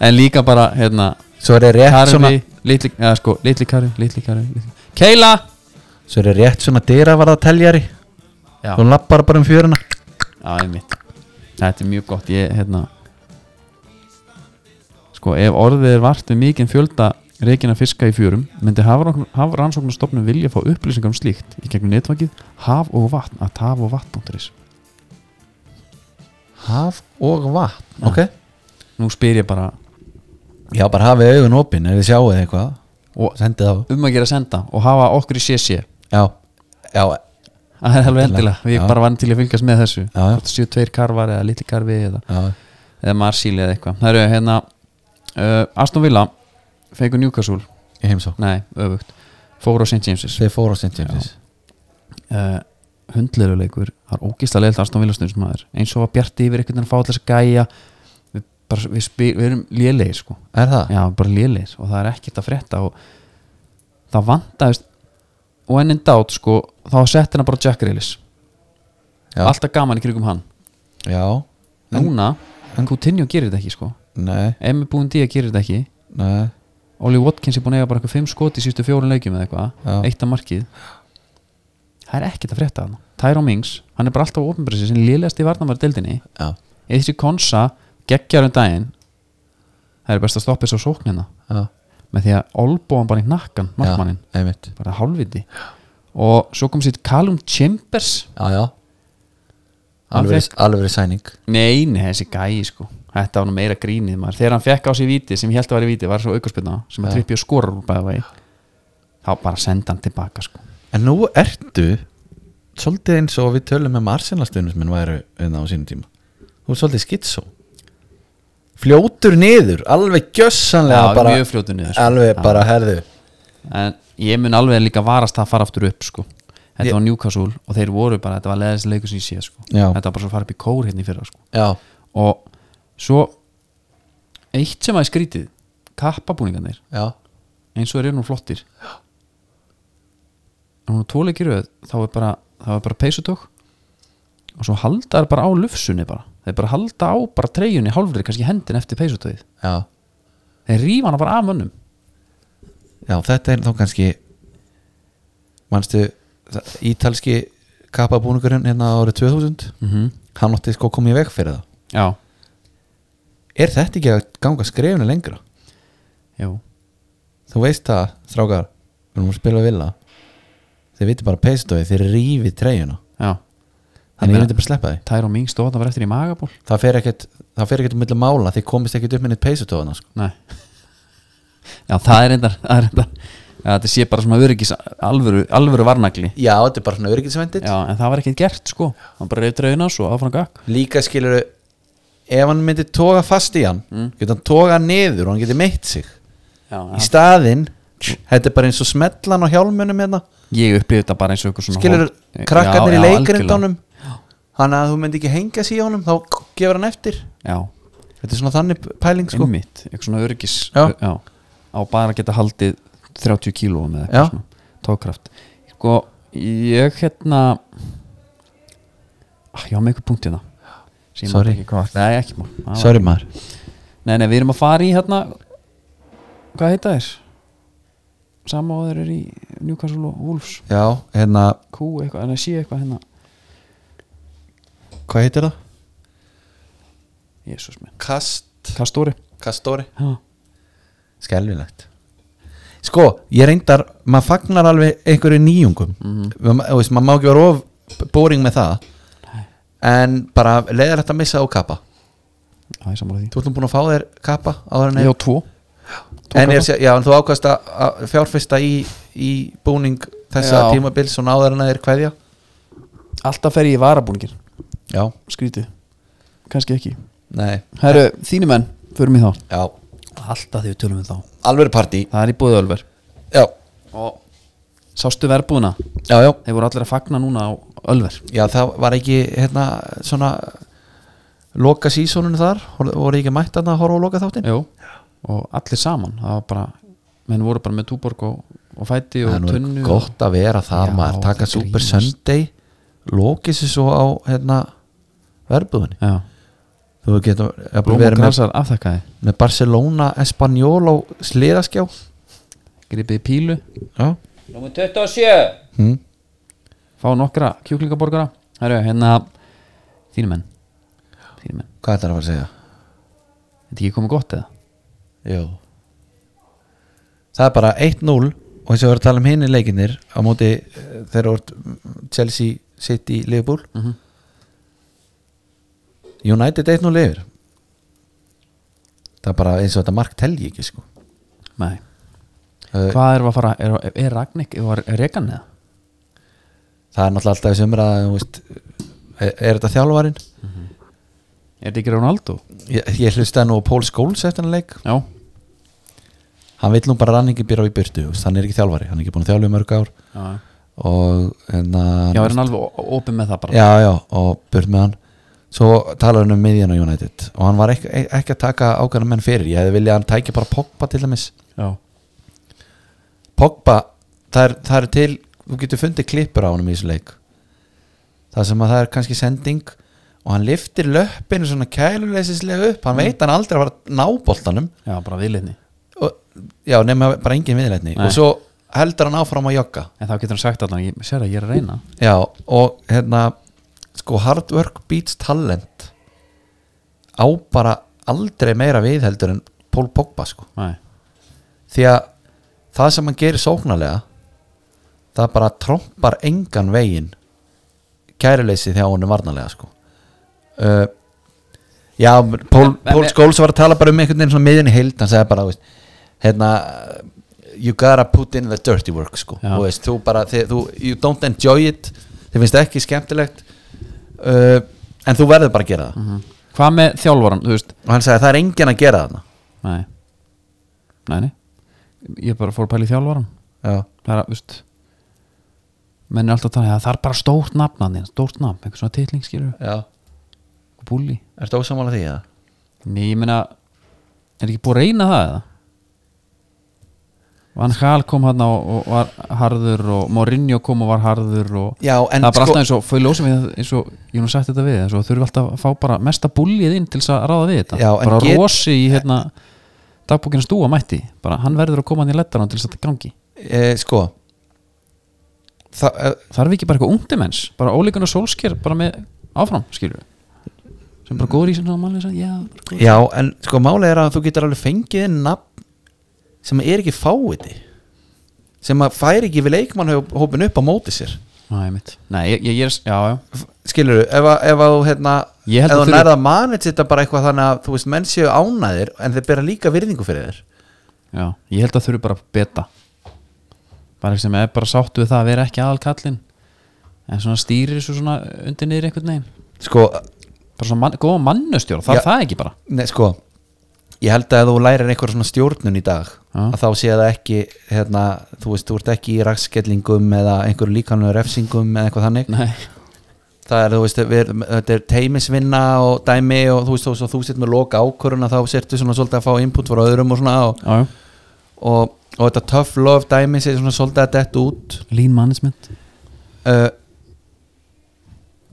S1: en líka bara, hérna,
S2: Svo er ég rétt svona
S1: karfi litli, eða sko, litli karfi, litli karfi litli. keila
S2: Svo er ég rétt svona dyravarða teljari
S1: já,
S2: Þú lappar bara um fjöruna
S1: já, einmitt þetta er mjög gott, ég, hérna sko, ef orðið er vart við mikinn fjölda reikina fiska í fjörum myndi hafrannsóknastofnum vilja fá upplýsingar um slíkt í gegnum netvakið haf og vatn að haf og vatn.is
S2: Haf og vatn Ok
S1: nú spyr ég bara
S2: Já, bara hafið augun opinn ef þið sjáuð eitthvað
S1: Og-
S2: Sendið á
S1: um að gera að senda og hafa okkur í sési
S2: Já, já,
S1: það er alveg endilega, við
S2: Já.
S1: bara vann til að fylgjast með þessu
S2: Já, já.
S1: Hvort það séu tveir karvar eða litli karfi eða,
S2: já.
S1: eða marsíli eða eitthvað það eru hérna uh, Aston Villa feikur Newcastle,
S2: Ég heimsó
S1: nei öfugt fóru á St. James's
S2: Þeir fóru á St. James
S1: uh, hundleiluleikur, það er ógísla leilt Aston Villa stundum maður, eins og að bjarti yfir einhvern veginn að fá alltaf þess að gæja við, bara, við, spyr, við erum lélegir sko
S2: Er það?
S1: Já, bara lélegir og það er ekkert að frétta og það vantaðist og enn in doubt sko þá setti hana bara Jack Reilis
S2: Já.
S1: alltaf gaman í krigum hann
S2: Já
S1: Núna, en Coutinho gerir þetta ekki sko
S2: Nei,
S1: Emi Búndía gerir þetta ekki
S2: nei
S1: Oli Watkins er búin að eiga bara eitthvað fimm skot í sístu fjórun leikjum eða
S2: Já.
S1: eitthvað eitt af markið það er ekkert að frétta hann Tyrone Mings, hann er bara alltaf ofinbreysi sem lélegast í varnamæri deildinni
S2: já,
S1: eða þessi konsa geggjar um daginn það er best að stoppa þessu á sóknina
S2: já,
S1: með því að olbóan bara í nakkan markmannin,
S2: já, einmitt
S1: bara hálfviti og svo kom sér Callum Chambers
S2: já, já
S1: Hann
S2: alveg, alveg verið sæning
S1: Nei, nei, þessi gæi sko Þetta var nú meira grínið maður Þegar hann fekk á sig víti sem ég held að væri víti var svo aukarspilna sem að
S2: Já.
S1: trippi og skorar úr bæða vegi þá bara senda hann tilbaka sko
S2: en nú ertu svolítið eins og við tölum með Arsenal-stunum sem væru auðvitað á sínum tíma þú er svolítið skitsó fljótur niður, alveg gjössanlega
S1: Já,
S2: bara,
S1: mjög fljótur niður, sko.
S2: alveg
S1: Já.
S2: bara herðu
S1: En ég mun alveg líka varast það að fara aftur upp sko Þetta
S2: Ég-
S1: var Newcastle og þeir voru bara þetta var leðis leikur sem ég sé sko
S2: Já.
S1: Þetta var bara svo að fara upp í kór hérna í fyrra sko
S2: já,
S1: Og svo eitt sem að er skrítið kappabúningarnir
S2: já,
S1: eins og þeir eru nú flottir en hún tóleikir þá er bara, þá er bara peysutök og svo halda þær bara á lufsunni bara, þeir bara halda á bara treyjunni hálfrið, kannski hendin eftir peysutökið
S2: já
S1: þeir rífa hana bara af mönnum
S2: já, þetta er þá kannski manstu það- ítalski kappabúningurinn hérna árið 2000
S1: -hmm.
S2: hann átti sko að koma í veg fyrir það
S1: já,
S2: er þetta ekki að ganga skrefinu lengra
S1: jú,
S2: þú veist það, strákar við erum að spila vilja þeir viti bara peistofi, þeir rífi treyjuna
S1: já Ég
S2: þannig ég
S1: meina-
S2: myndi bara sleppa því
S1: Tæra og Ming stóð það var eftir í magaból
S2: það fer ekkert, það fer ekkert um milli mála þeir komist ekkert upp með neitt peisutofana sko.
S1: nei já, það er reyndar, það er reyndar já, þetta sé bara svona öryggis alvöru, alvöru varnagli
S2: já, þetta er bara svona öryggisvendit
S1: já, en það var ekkert gert sko hann bara reyði treyjuna svo áfram gakk
S2: líka skilur ef hann myndi toga fast í hann mm. getur hann toga hann niður og hann getur meitt sig
S1: já,
S2: í staðinn, þetta er bara eins og smetlan á hjálmunum hérna
S1: ég upplifði þetta bara eins og eitthvað svona
S2: skilur
S1: hálf-
S2: krakkarnir
S1: Já,
S2: í
S1: já,
S2: leikrindunum hann að þú myndi ekki henga sig í honum þá gefur hann eftir
S1: algjörlega. já,
S2: þetta er svona þannig pæling sko
S1: einmitt, eitthvað svona öryggis
S2: Já.
S1: Já, á bara að geta haldið 30 kílóum eða
S2: Já.
S1: eitthvað svona tókraft sko, ég hérna ah, ég á með eitthvað punkt hérna sem ég man
S2: Sorry.
S1: ekki hvað var. nei, ekki mál Það var-
S2: sorry maður
S1: nei, nei, við erum að fara í hérna hvað heita þér? sama og þeir eru í Newcastle og Wolves
S2: Já, hérna,
S1: Q eitthvað, en að sé eitthvað hérna
S2: hvað heitir það?
S1: Jésús minn,
S2: Kast
S1: Kastóri
S2: Kastóri
S1: Já.
S2: Skelvilegt Sko, ég reyndar, maður fagnar alveg einhverju nýjungum mm -hmm. veist, maður má ekki vera of boring með það en bara leiðilegt að missa á kappa
S1: Já, ég er sammála því
S2: þú ætlum búin að fá þér kappa áður en
S1: Ég á tvo tvo
S2: en, er,
S1: kaffa.
S2: já, en þú ákvæmst að að fjárfesta í, í búning þessa
S1: Já.
S2: tímabils og náður en að þér kveðja
S1: Alltaf fer ég í varabúningir
S2: Já,
S1: skrítið, kannski ekki
S2: nei,
S1: Herru, þínu menn, förum í þá
S2: já,
S1: Eh. Alltaf því við tölum við þá
S2: alveg partí
S1: Það er í búið Ölver
S2: Já,
S1: Og sástu verbúðina
S2: já, já
S1: Þeir voru allir að fagna núna á Ölver
S2: Já, það var ekki hérna svona loka sísónunni þar Hor- voru ekki mætt að horfa á loka þáttin
S1: Jú, og allir saman Það var bara, menn voru bara með túborg og, og fæti og tunnu og,
S2: gott að vera þar
S1: Já,
S2: maður taka
S1: það
S2: Super
S1: grínast.
S2: Sunday lokið sér svo á hérna verbuðunni
S1: Já,
S2: þú getur jafnvel
S1: blóm og
S2: verið með,
S1: grasar afþakkaði
S2: með Barcelona Espanjol á sliðaskjá
S1: Gripið í pílu
S2: Já,
S4: Númer 27
S2: hm.
S1: Fá nokkra kjúklingaborgara Herru, hérna Þínu menn Þínu menn,
S2: hvað er það að fara að segja?
S1: þetta ekki komið gott eða?
S2: Jú Það er bara 1-0 og þess að vera að tala um hinni leikinir á móti eh, þegar orð Chelsea City Liverpool
S1: Mhm.
S2: United 1-0 yfir Það er bara eins og þetta mark telji ekki sko
S1: Nei,
S2: Eh,
S1: hvað erum við að fara Er, er Ragnik, er, er Regan eða?
S2: Það er náttúrulega alltaf sem er að þú veist, er, er þetta þjálfarinn?
S1: Er þetta ekki Ronaldo?
S2: Ég, ég hlustaði nú á Paul Scholes eftir hann leik
S1: Já,
S2: Hann vill nú bara ranningi býra í byrtu þú veist, hann er ekki þjálfari, hann er ekki búin að þjálfa í mörg ár
S1: já
S2: og hérna
S1: Já, er hann alveg ó- opið með það bara
S2: já, já, og burt með hann svo talar hann um miðjan á United og hann var ekki, ekki að taka ákveðna menn fyrir ég hefði viljað að hann tæki bara Pogba til dæmis
S1: já.
S2: Pogba, það er, það er til þú getur fundið klippur á honum í þessu leik það sem að það er kannski sending og hann liftir löppinu svona kæluleysislega upp hann veit hann aldrei að fara að ná boltanum
S1: já bara viðliðni
S2: og, já, nema bara engin viðleitni
S1: Nei.
S2: og svo heldur hann áfram að jogga
S1: en þá getur hann sagt allan, ég sér að ég er að reyna
S2: já, og hérna sko hard work beats talent á bara aldrei meira við heldur en Pól Pogba sko
S1: Nei.
S2: því að það sem hann gerir sóknarlega það bara trompar engan veginn kæruleysi þegar hann er varnarlega sko uh, já, Pól,
S1: En- en-
S2: Pól Skóls var að tala bara um einhvern veginn svona miðin í heild hann sagði bara, þú veist, hérna you gotta put in the dirty work sko
S1: Já.
S2: þú veist, þú bara, þið, þú, you don't enjoy it þið finnst ekki skemmtilegt uh, en þú verður bara að gera það
S1: Mhm. hvað með þjálfvaran, þú veist
S2: og hann sagði það er enginn að gera þarna
S1: Nei. Nei, nei. ég bara fór að pæla í þjálfvaran
S2: já,
S1: það er að, þú veist menn er alltaf að tala, það er bara stórt nafn hann, stórt nafn, einhver svona titling skilur
S2: já,
S1: búli,
S2: ertu ósamála því eða?
S1: nei, ég meina er ekki búið að reyna það eða Van Gaal kom hann og, og var harður og Mourinho kom og var harður og
S2: Já, en
S1: það er bara
S2: sko-
S1: alltaf eins og fyrir lósum við það, eins og ég hef nú sagt þetta við eins og þurfi alltaf að fá bara mesta búlið inn til þess að ráða við þetta
S2: Já, en
S1: bara
S2: get-
S1: rosi í hérna dagbúkina stúa mætti bara hann verður að koma hann í lettar til þess að þetta gangi
S2: e, sko Þa, e,
S1: þarf ekki bara eitthvað ungdimens bara ólíkun og sólsker bara með áfram skilur sem bara góður í sinna og mannlega já, bara góður.
S2: já, en sko málið er að þú getur alveg fengið inn nafn sem er ekki fáiði sem að færi ekki við leikmannhópin upp á móti sér
S1: Næ, einmitt. Nei, ég, ég, ég er s- já, já.
S2: skilur þú, ef, að- ef að þú hérna
S1: Ég held
S2: ef
S1: að
S2: þú
S1: þurfi-
S2: nærða að manage þetta bara eitthvað þannig að þú veist menn séu ánæðir en þeir bera líka virðingu fyrir þér
S1: já, ég held að þurfi bara beta bara sem er bara sáttu við það að vera ekki aðal kallinn en svona stýrir þessu svona undir niður einhvern veginn
S2: sko,
S1: bara svona mann, góða mannustjóra, það
S2: Já.
S1: er það ekki bara
S2: ne, sko ég held að ef þú lærir einhver svona stjórnun í dag
S1: Já.
S2: að þá sé það ekki hérna, þú veist, þú ert ekki í raskellingum eða einhverju líkanlega refsingum eða eitthvað þannig
S1: Nei.
S2: það er, þú veist, við, erum- þetta er teimisvinna og dæmi og þú veist, þú, þú sitt með loka ákvöruna þá sértu svona svolítið að fá input frá öðrum og svona og,
S1: Já, já.
S2: og, og þetta tough love dæmi sé svona svolítið að detta út
S1: lean management
S2: uh,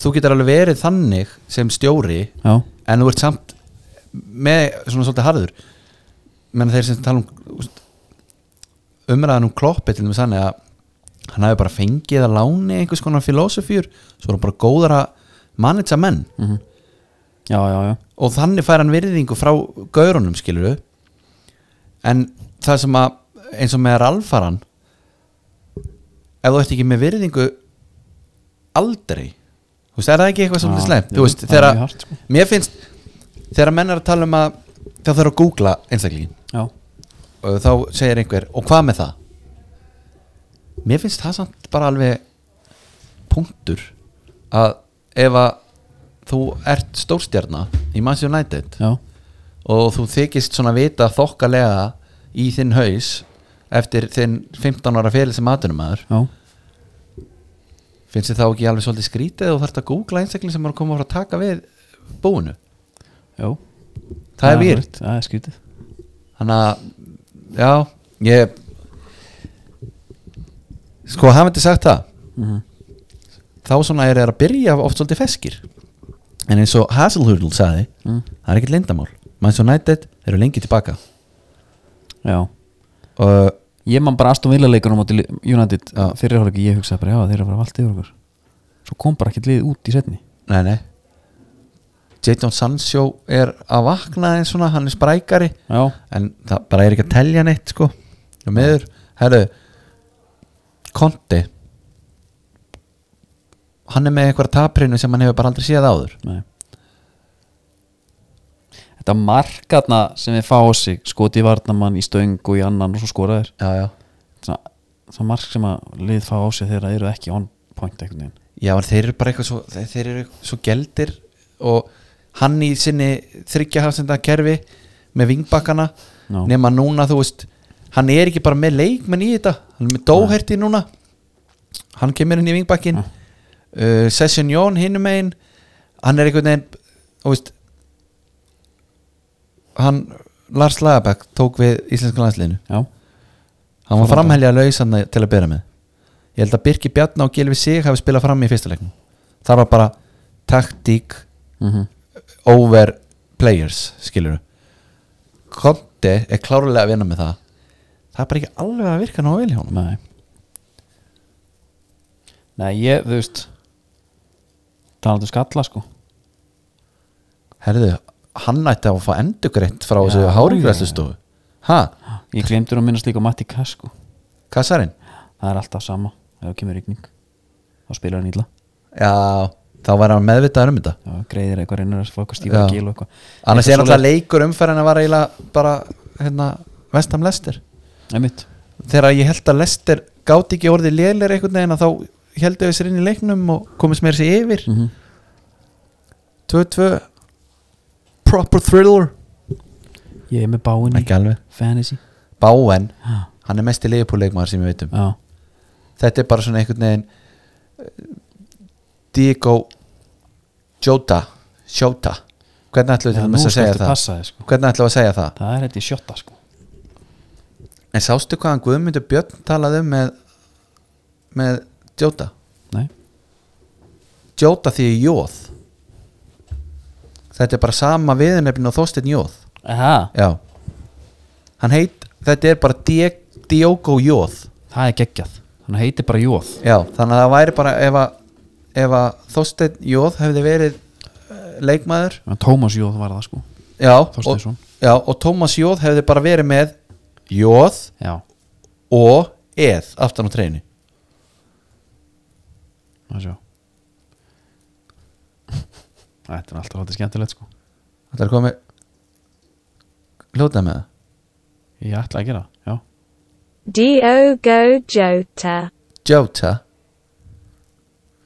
S2: þú getur alveg verið þannig sem stjóri
S1: já,
S2: en þú ert samt með svona svolítið harður menn þeir sem tala um þú veist, umræðan um kloppi til þess að hann hafi bara fengið að láni einhvers konar filosofjur svo er hann bara góðar að mannitsa menn
S1: Mhm. já, já, já.
S2: og þannig fær hann virðingu frá gaurunum skilur en það sem að eins og með ralfaran ef þú ert ekki með virðingu aldrei þú veist, er það ekki eitthvað svolítið
S1: Já,
S2: slæmt
S1: jú,
S2: þú veist,
S1: það er mjög
S2: þegar að-
S1: hart, sko.
S2: mér finnst þegar menn er að tala um að þá þarf að googla einstaklingin
S1: já.
S2: og þá segir einhver, og hvað með það mér finnst það samt bara alveg punktur að ef að þú ert stórstjarna í Man's United
S1: já.
S2: og þú þykist svona vita þokkalega í þinn haus eftir þinn 15 ára fyrir sem atunumæður
S1: já.
S2: finnst þið þá ekki alveg svolítið skrítið og þarf að googla einstakling sem er að koma frá að taka við búinu,
S1: já.
S2: það er
S1: alveg-
S2: výrt
S1: það er skrítið
S2: þannig að já, ég sko hafandi sagt það
S1: Mhm.
S2: þá svona er það að byrja oft svolítið feskir en eins og Haselhurl saði
S1: Mm.
S2: það er ekkert lindamál Manchester United eru lengi tilbaka
S1: já
S2: og
S1: Ég man bara Aston Villa leikunum á móti Li- United
S2: Já.
S1: fyrir hálfleiki, ég hugsaði bara já þeir eru að fara allt yfir okkur svo kom bara ekkert liðið út í setni
S2: nei nei Jadon Sancho er að vakna eins svona, hann er sprækari
S1: Já,
S2: en það bara er ekki að telja neitt sko og meður, herru Konti hann er með einhverja taprinu sem hann hefur bara aldrei séð áður
S1: nei Þetta markarna sem við fá á sig skoti í varnamann í stöng og í annan og svo skora þér
S2: já, já.
S1: það, það mark sem að lið fá á sig þegar það eru ekki on point einhvern veginn
S2: já, en þeir eru bara eitthvað svo þeir, þeir eru svo geldir og hann í sinni þryggjahafsenda kerfi með vingbakkana
S1: Já.
S2: nema núna, þú veist hann er ekki bara með leikmenn í þetta hann er með dóherti núna hann kemur inn í vingbakkin
S1: Já.
S2: uh, Session Jón hinum einn hann er einhvern veginn þú veist, hann Lars Lagerbæk tók við íslenska landsliðinu
S1: Já,
S2: hann var framhelja lausan til að byrja með ég held að Birki Bjarná og Gilvi Sig hafi spilað fram í fyrsta leiknum það var bara taktík
S1: mm
S2: over players skilur Kom, Conte er klárlega að vinna með það það er bara ekki alveg að virka ná vel hjá honum
S1: Nei Nei, ég, þú veist Talandi um skalla, sko
S2: herðu, hann ætti að fá endugreitt frá
S1: Já,
S2: þessu hárigræslustofu ha,
S1: Ég glemdur að minnast líka á Matti Kass, sko
S2: kassarinn
S1: Það er alltaf sama, ef það kemur rigning þá spilar hann illa
S2: já, þá var hann meðvitaður um þetta
S1: Já, greiðir eitthvað reynir að fá eitthvað stífa
S2: Já.
S1: að gil og eitthvað
S2: annars
S1: Eitthvað
S2: er alltaf
S1: svoleiðis.
S2: leikur umferðin að var eiginlega bara hérna, vestam lestir
S1: Einmitt.
S2: þegar ég held að lestir gáti ekki orðið lélir einhvern veginn að þá heldur þessir inn í leiknum og komist meira sér yfir
S1: Mhm.
S2: 2-2 proper thriller
S1: Ég er með báin í
S2: ekki alveg
S1: fantasy
S2: Báen,
S1: Já,
S2: hann er mest í leifupúleikmaður sem ég veit um
S1: já,
S2: þetta er bara svona einhvern veginn eh, Diego Jota Jota hvernig ætlum við
S1: Já, nú
S2: til dæmis að segja
S1: skaltu
S2: það
S1: passa þig, sko.
S2: hvernig ætlum við að segja það
S1: Það er þetta í sjötta, sko
S2: En sástu hvaðan Guðmundur Björn talaði um með með Jóta
S1: Nei,
S2: Jóta því er Jóð Þetta er bara sama viðurnefni og Þorsteinn Jóð
S1: Aha,
S2: Já Hann heit, þetta er bara Die- Diogo Jóð
S1: það er geggjað Hann heitir bara Jóð
S2: Já, þannig að það væri bara ef að, ef að Þorsteinn Jóð hefði verið eh, leikmaður
S1: Tómas Jóð var það, sko
S2: Já, og,
S1: Þorsteinsson.
S2: já, og Tómas Jóð hefði bara verið með Jóð
S1: Já,
S2: og Eð aftan á treinu
S1: það sjá Þetta er alltaf alltaf skemmtilegt, sko
S2: Þetta er komið Ljótað með það
S1: Ég ætla að gera, það, já
S4: Diogo Jota.
S2: Jóta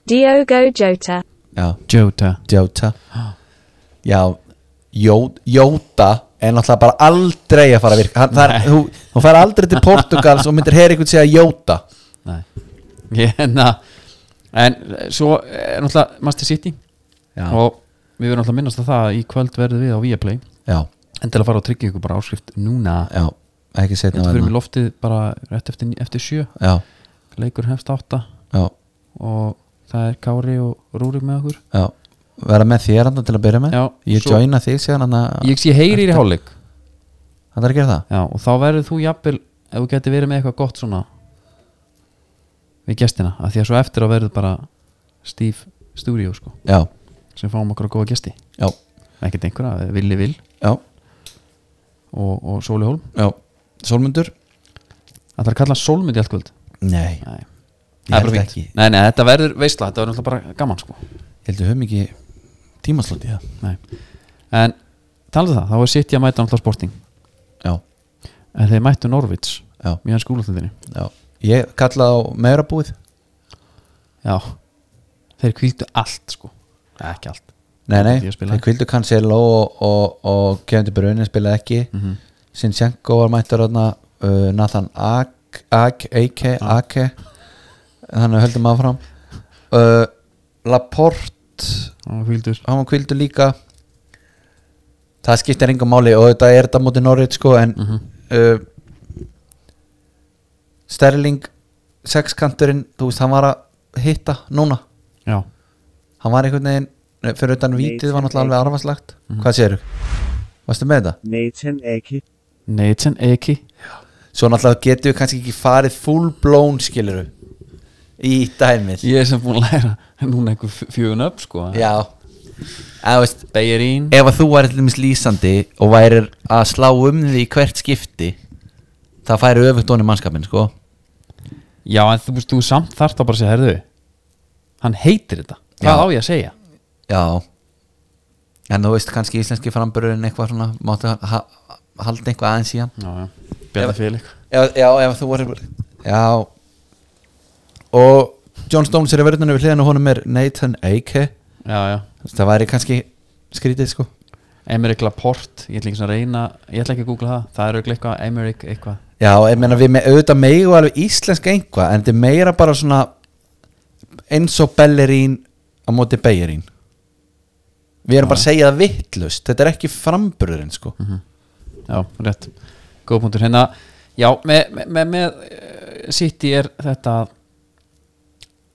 S4: Diogo Jota.
S2: Já,
S1: Jóta
S2: Jóta Já, Jó- Jóta er náttúrulega bara aldrei að fara að virka hann, það er,
S1: Nei.
S2: þú, þú fær aldrei til Portugals og myndir heyra einhvern segja Jóta
S1: Nei Ég, na, En eh, svo er náttúrulega Master City
S2: Já,
S1: Og við verðum náttúrulega að minnast að það að Í kvöld verðum við á Viaplay
S2: já,
S1: En til að fara og tryggja ykkur bara áskrift núna
S2: já, ekki
S1: Ég
S2: setna
S1: ætla að fyrir mig loftið bara rétt eftir, eftir sjö
S2: Já,
S1: Leikur hefst átta
S2: já,
S1: Og það er Kári og Rúrik með okkur
S2: já Verða með þér andan til að byrja með
S1: Já,
S2: Ég
S1: svo-
S2: joina þig síðan hann að
S1: Ég sé heyrir í hálfleik
S2: Hann er að gera það
S1: Já, og þá verður þú jafnvel ef þú getur verið með eitthvað gott svona við gestina, af því að svo eftir að verður bara Steve Studio sko,
S2: Já,
S1: sem fáum okkur að góða gesti
S2: já,
S1: ekkert einhverja, Villi Vill
S2: já,
S1: og, og Sóli Hólm,
S2: já Sólmundur?
S1: ætlar að kalla hann Sólmund í allt kvöld
S2: Nei,
S1: Nei,
S2: ég held ekki
S1: Nei, nei, þetta verður veistla, þetta verður náttúrulega bara gaman sko
S2: Ég held við höfum ekki tímaslótt í það
S1: Nei, en talaðu það, þá er sitt ég að mæta náttúrulega sporting
S2: Já,
S1: en þeir mættu Norvits
S2: já,
S1: í hans skúlaflöndinni
S2: já Ég kalla á meirabúið
S1: Já, þeir kvíldu allt sko Nei, ekki allt
S2: Nei, nei,
S1: Því að spila.
S2: þeir kvildu Cancelo og, og, og Kevin De Bruyne spilaði ekki mm
S1: Mhm.
S2: -hmm. Sinchenko var mættur þarna uh, Nathan Ake Ake, Ake þannig að höldum áfram uh, Laporte
S1: Það kvíldur
S2: hann var kvildu líka það skiptir engum máli og þetta er þetta mútið Norrið sko en uh, Sterling sexkanturinn, þú veist, hann var að hitta núna
S1: Já,
S2: hann var einhvern veginn nei, fyrir utan vítið var náttúrulega alveg arfaslagt hvað séru? Varstu með þetta?
S5: Nathan Ake,
S1: Nathan Eki
S2: Svo náttúrulega getum við kannski ekki farið full blown skiluru í dæmið
S1: Ég er sem búin að læra núna einhver fjögun upp sko
S2: Já En þú veist
S1: Beirín
S2: ef að þú væri til dæmis lýsandi og værir að slá um því í hvert skipti það færi öfugt honum mannskapin sko
S1: Já en þú veist þú samt þarft að bara segja herðu Hann heitir þetta Hvað á ég að segja
S2: Já En þú veist kannski íslenski framburðurinn eitthvað svona máttu ha- ha- halda eitthvað aðeins í hann
S1: Já já
S2: Bjarni
S1: Félik
S2: Já, já ef þú voru Já Og John Stones er í verðinu við hliðan og honum er Nathan Ake
S1: Já já
S2: Það væri kannski skrítið sko
S1: Emmerich Laporte Ég ætla ekki svona að reyna Ég ætla ekki að googla það Það er auðvitað eitthvað Emmerich eitthvað
S2: Já, ég meina við með, auðvitað meigu alveg íslensk einhvað En þetta er meira bara svona eins og bellerín á móti beigerín Við erum bara að segja það vittlust Þetta er ekki framburðurinn sko
S1: Já rétt Góð punktur hérna Já með, með, með, með eh, City er þetta að-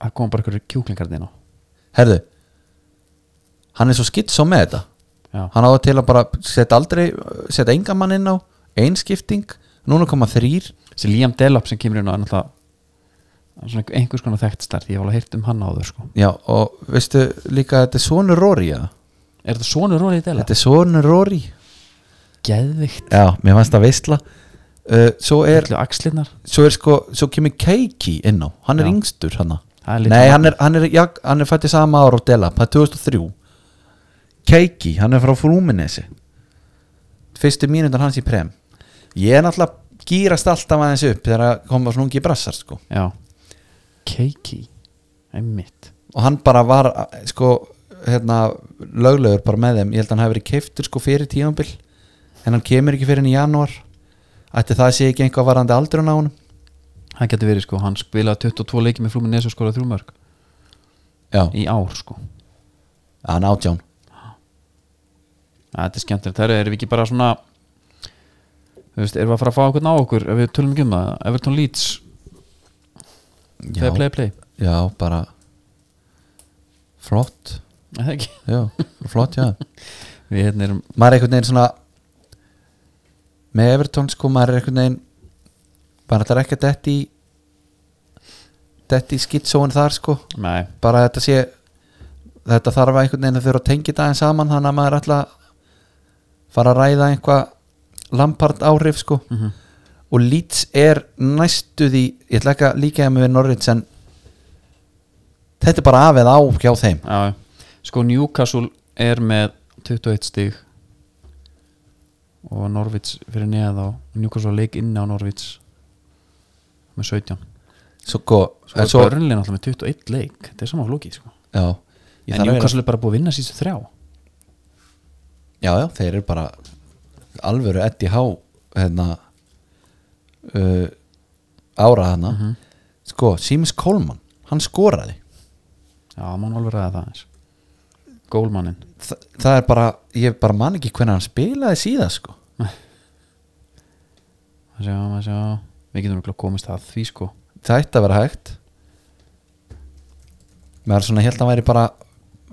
S1: að koma bara einhverju kjúklingarnir á
S2: Herðu Hann er svo skitt svo með þetta
S1: Já
S2: Hann áður til að bara setja aldrei setja enga mann inn á einskipting núna koma þrýr
S1: þessi Liam Delap sem kemur inn og er náttúrulega hann er svona einhvers konar þekkt starf ég hef alveg heyrt um hann áður sko
S2: já og veistu líka að þetta er sonur Rory ja?
S1: er þetta sonur Rory Delap?
S2: þetta er sonur Rory
S1: geðvikt
S2: já, mér fannst það veistla uh, svo er
S1: allir axlirnar
S2: svo er sko, svo kemur Keiki inn á hann er
S1: Já.
S2: yngstur hann
S1: Það er lítið
S2: nei,
S1: annað.
S2: hann er, hann er, já, hann er fættið sama ára á Dela, það er 2003 Keiki, hann er frá Frúminesi fyrstu mínútur hans í prem ég er náttúrulega gýrast alltaf aðeins upp þegar að koma svona ungi brassar sko
S1: já Keiki einmitt
S2: og hann bara var sko hérna löglegur bara með þeim ég held að hann hafi verið keiftur sko fyrir tíðanbill en hann kemur ekki fyrir henni í janúar ætti það sé ekki einhvað varandi aldrun á hann
S1: hann getur verið sko hann spilaði 22 leiki með flúmi nesu skóla þrjumörk
S2: já,
S1: í ár sko
S2: hann átján
S1: að þetta er skemmtilegt það erum við ekki bara svona þú veist erum við að fara að fá okkur á okkur ef við tölum ekki um það Everton Leeds play play play
S2: já, bara flott
S1: Er það ekki
S2: já, flott, já
S1: við hérna erum
S2: maður er einhvern veginn svona með Everton sko maður er einhvern veginn bara þetta er ekki að detti í detti í skitsóin þar sko
S1: nei
S2: bara þetta sé þetta þarf að einhvern veginn að þurfa að tengja þetta aðeins saman þannig að maður er alltaf fara að ræða einhvað lampart áhrif sko
S1: Mhm.
S2: og Leeds er næstu því ég ætla ekki að líka með við Norrits en þetta er bara af eða á hjá þeim
S1: Já, sko Newcastle er með 21 stig og Norvits fyrir neða þá Newcastle á leik inni á Norvits með 17
S2: svo, go,
S1: Sko
S2: en svo,
S1: er Burnley náttúrulega með 21 leik þetta er saman flókið sko
S2: já, ég
S1: En
S2: þarf að-
S1: Newcastle er bara búið að vinna síðustu þrjá
S2: já, já, þeir eru bara alvöru Eddie Há hérna uh, ára hana sko, Seamus Coleman hann skoraði
S1: Já, mann alveg ræða það eins Gólmannin
S2: Þa, það er bara, ég bara man ekki hvernig hann spilaði síðan sko
S1: Að sjá, að sjá. Við getum örugglega komist að því sko
S2: það ætti að vera hægt maður svona held að hann væri bara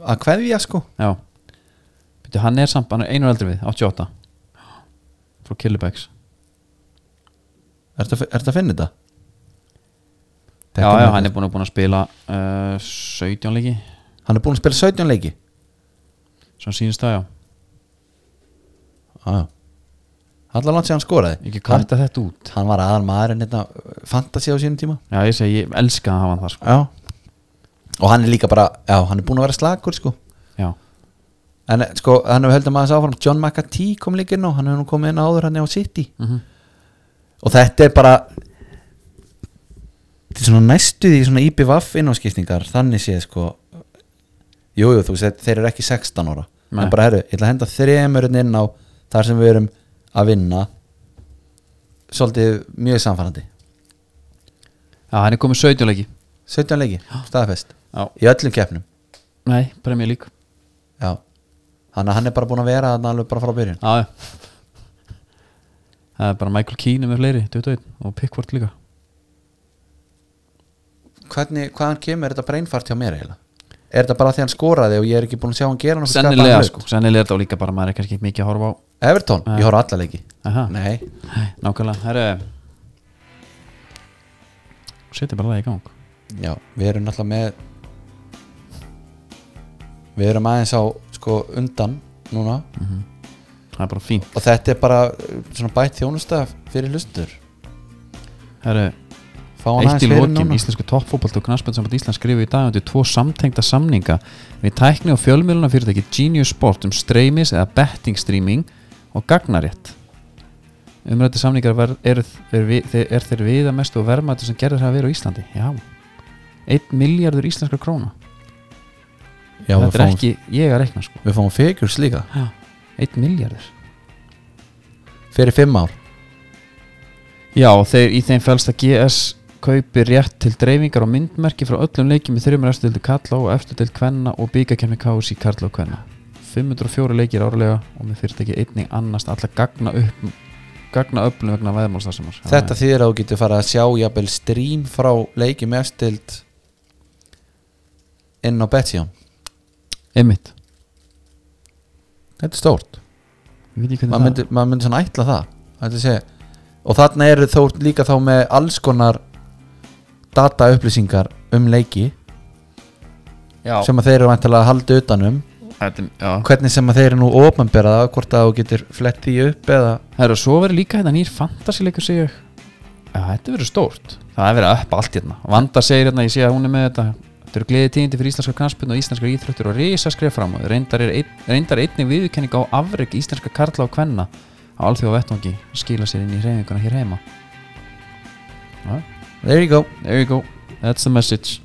S2: að kveðja sko
S1: Já Býttu, hann er samt, hann er einu eldri við, 88 Frá Killebacks
S2: ertu, að fi- ertu að finna þetta?
S1: Já, já, hann er búin að, búin að spila uh, 17 leiki
S2: hann er búin að spila 17 leiki
S1: Svona sínist það, já
S2: ah. allar langt sér hann skoraði
S1: Ekki
S2: hann,
S1: kvarta þetta út
S2: hann var aðal maðurinn hérna, fantasi á sínum tíma
S1: Já, ég segi, ég elska að hafa hann þar sko.
S2: já. og hann er líka bara já, hann er búin að vera slagur sko
S1: Já,
S2: en eh, sko, hann hefur höldum aðeins áfram John McAtee kom líka inn á, hann hefur nú komið inn áður hann er á City
S1: Mhm.
S2: og þetta er bara þetta er svona næstu því svona IPVAF innáskiptingar, þannig sé sko jújú, jú, þú veist, þeir eru ekki 16 ára,
S1: Nei.
S2: en bara herru, ég ætla að henda þremurinn inn á þar sem við erum að vinna svolítið mjög samfærandi
S1: já hann er komið 17 leiki
S2: 17 leiki, staðfest
S1: Já,
S2: í öllum keppnum,
S1: nei, bara mér lík
S2: já þannig að hann er bara búin að vera þarna alveg bara frá byrjun
S1: Já, já Það er bara Michael Keane með fleiri, 21 og Pickford líka
S2: hvernig, hvaðan kemur þetta breinfart hjá mér eiginlega? Er þetta bara því hann skoraði og ég er ekki búin að sjá hann gera hann
S1: Sennilega, sko, sennilega er þetta líka bara maður er kannski ekki mikið að horfa á
S2: Evertón,
S1: Ja.
S2: ég horf alla leiki
S1: Aha,
S2: Nei,
S1: nákvæmlega, herru Setja bara það í gang
S2: já, við erum náttúrulega með Við erum aðeins á sko undan núna
S1: Mm. Það er bara fín
S2: og þetta er bara uh, svona bætt þjónusta fyrir hlustur
S1: Herru,
S2: Fá hann
S1: Eitt
S2: aðeins
S1: í
S2: fyrir
S1: lokin,
S2: núna
S1: íslensku toppfóbolt og knarspöld samt Ísland skrifu í dag undir tvo samtengda samninga við tækni og fjölmjöluna fyrirtæki Genius Sport um streymis eða betting streaming og gagnarétt umrætti samningar ver, er, er, er, er þeir viða mestu og verðmættu sem gerðir hafa verið á Íslandi já, 1 miljardur íslenskar króna
S2: Já, við
S1: þetta er
S2: fáum,
S1: ekki, ég að rekna sko
S2: við fáum figures líka
S1: 1 miljardur
S2: Fyrir fimm ár
S1: já, og þeir í þeim fælst að GS kaupi rétt til dreifingar og myndmerki frá öllum leikjum í þrjumur eftirdildi Kalla og eftirdildi Kvenna og byggakenni KS í Kalla og Kvenna 504 leikir árlega og með fyrirtæki einning annast alla gagna upp gagna öflum vegna veðmálstarsamar
S2: Þetta þýðir að þú getur fara að sjá jafnvel strím frá leiki með stild inn á Betsjón
S1: einmitt,
S2: Þetta er stórt
S1: ég veit ekki hvernig það
S2: maður myndi, mað myndi svona ætla það ætli sé. og þarna eru þó líka þá með alls konar dataupplýsingar um leiki
S1: já,
S2: sem að þeir eru vantilega að halda utanum
S1: þetta, já.
S2: hvernig sem að þeir eru nú ofanberað hvort að þú getur flett því upp eða
S1: Herra, svo verður líka hérna nýr fantasileikur segja Já, þetta verður stórt Það er verið að upp allt hérna Vanda segir hérna, ég sé að hún er með þetta Þetta eru gleði tíðindi fyrir íslenska knarspinn og íslenska íþróttur og risa skref fram og reyndar, er ein, reyndar einnig viðurkenning á afreg íslenska karla og kvenna á alþjóð vettvangi skila sér inn í hreyfinguna hér heima
S2: there you go
S1: There you go, that's the message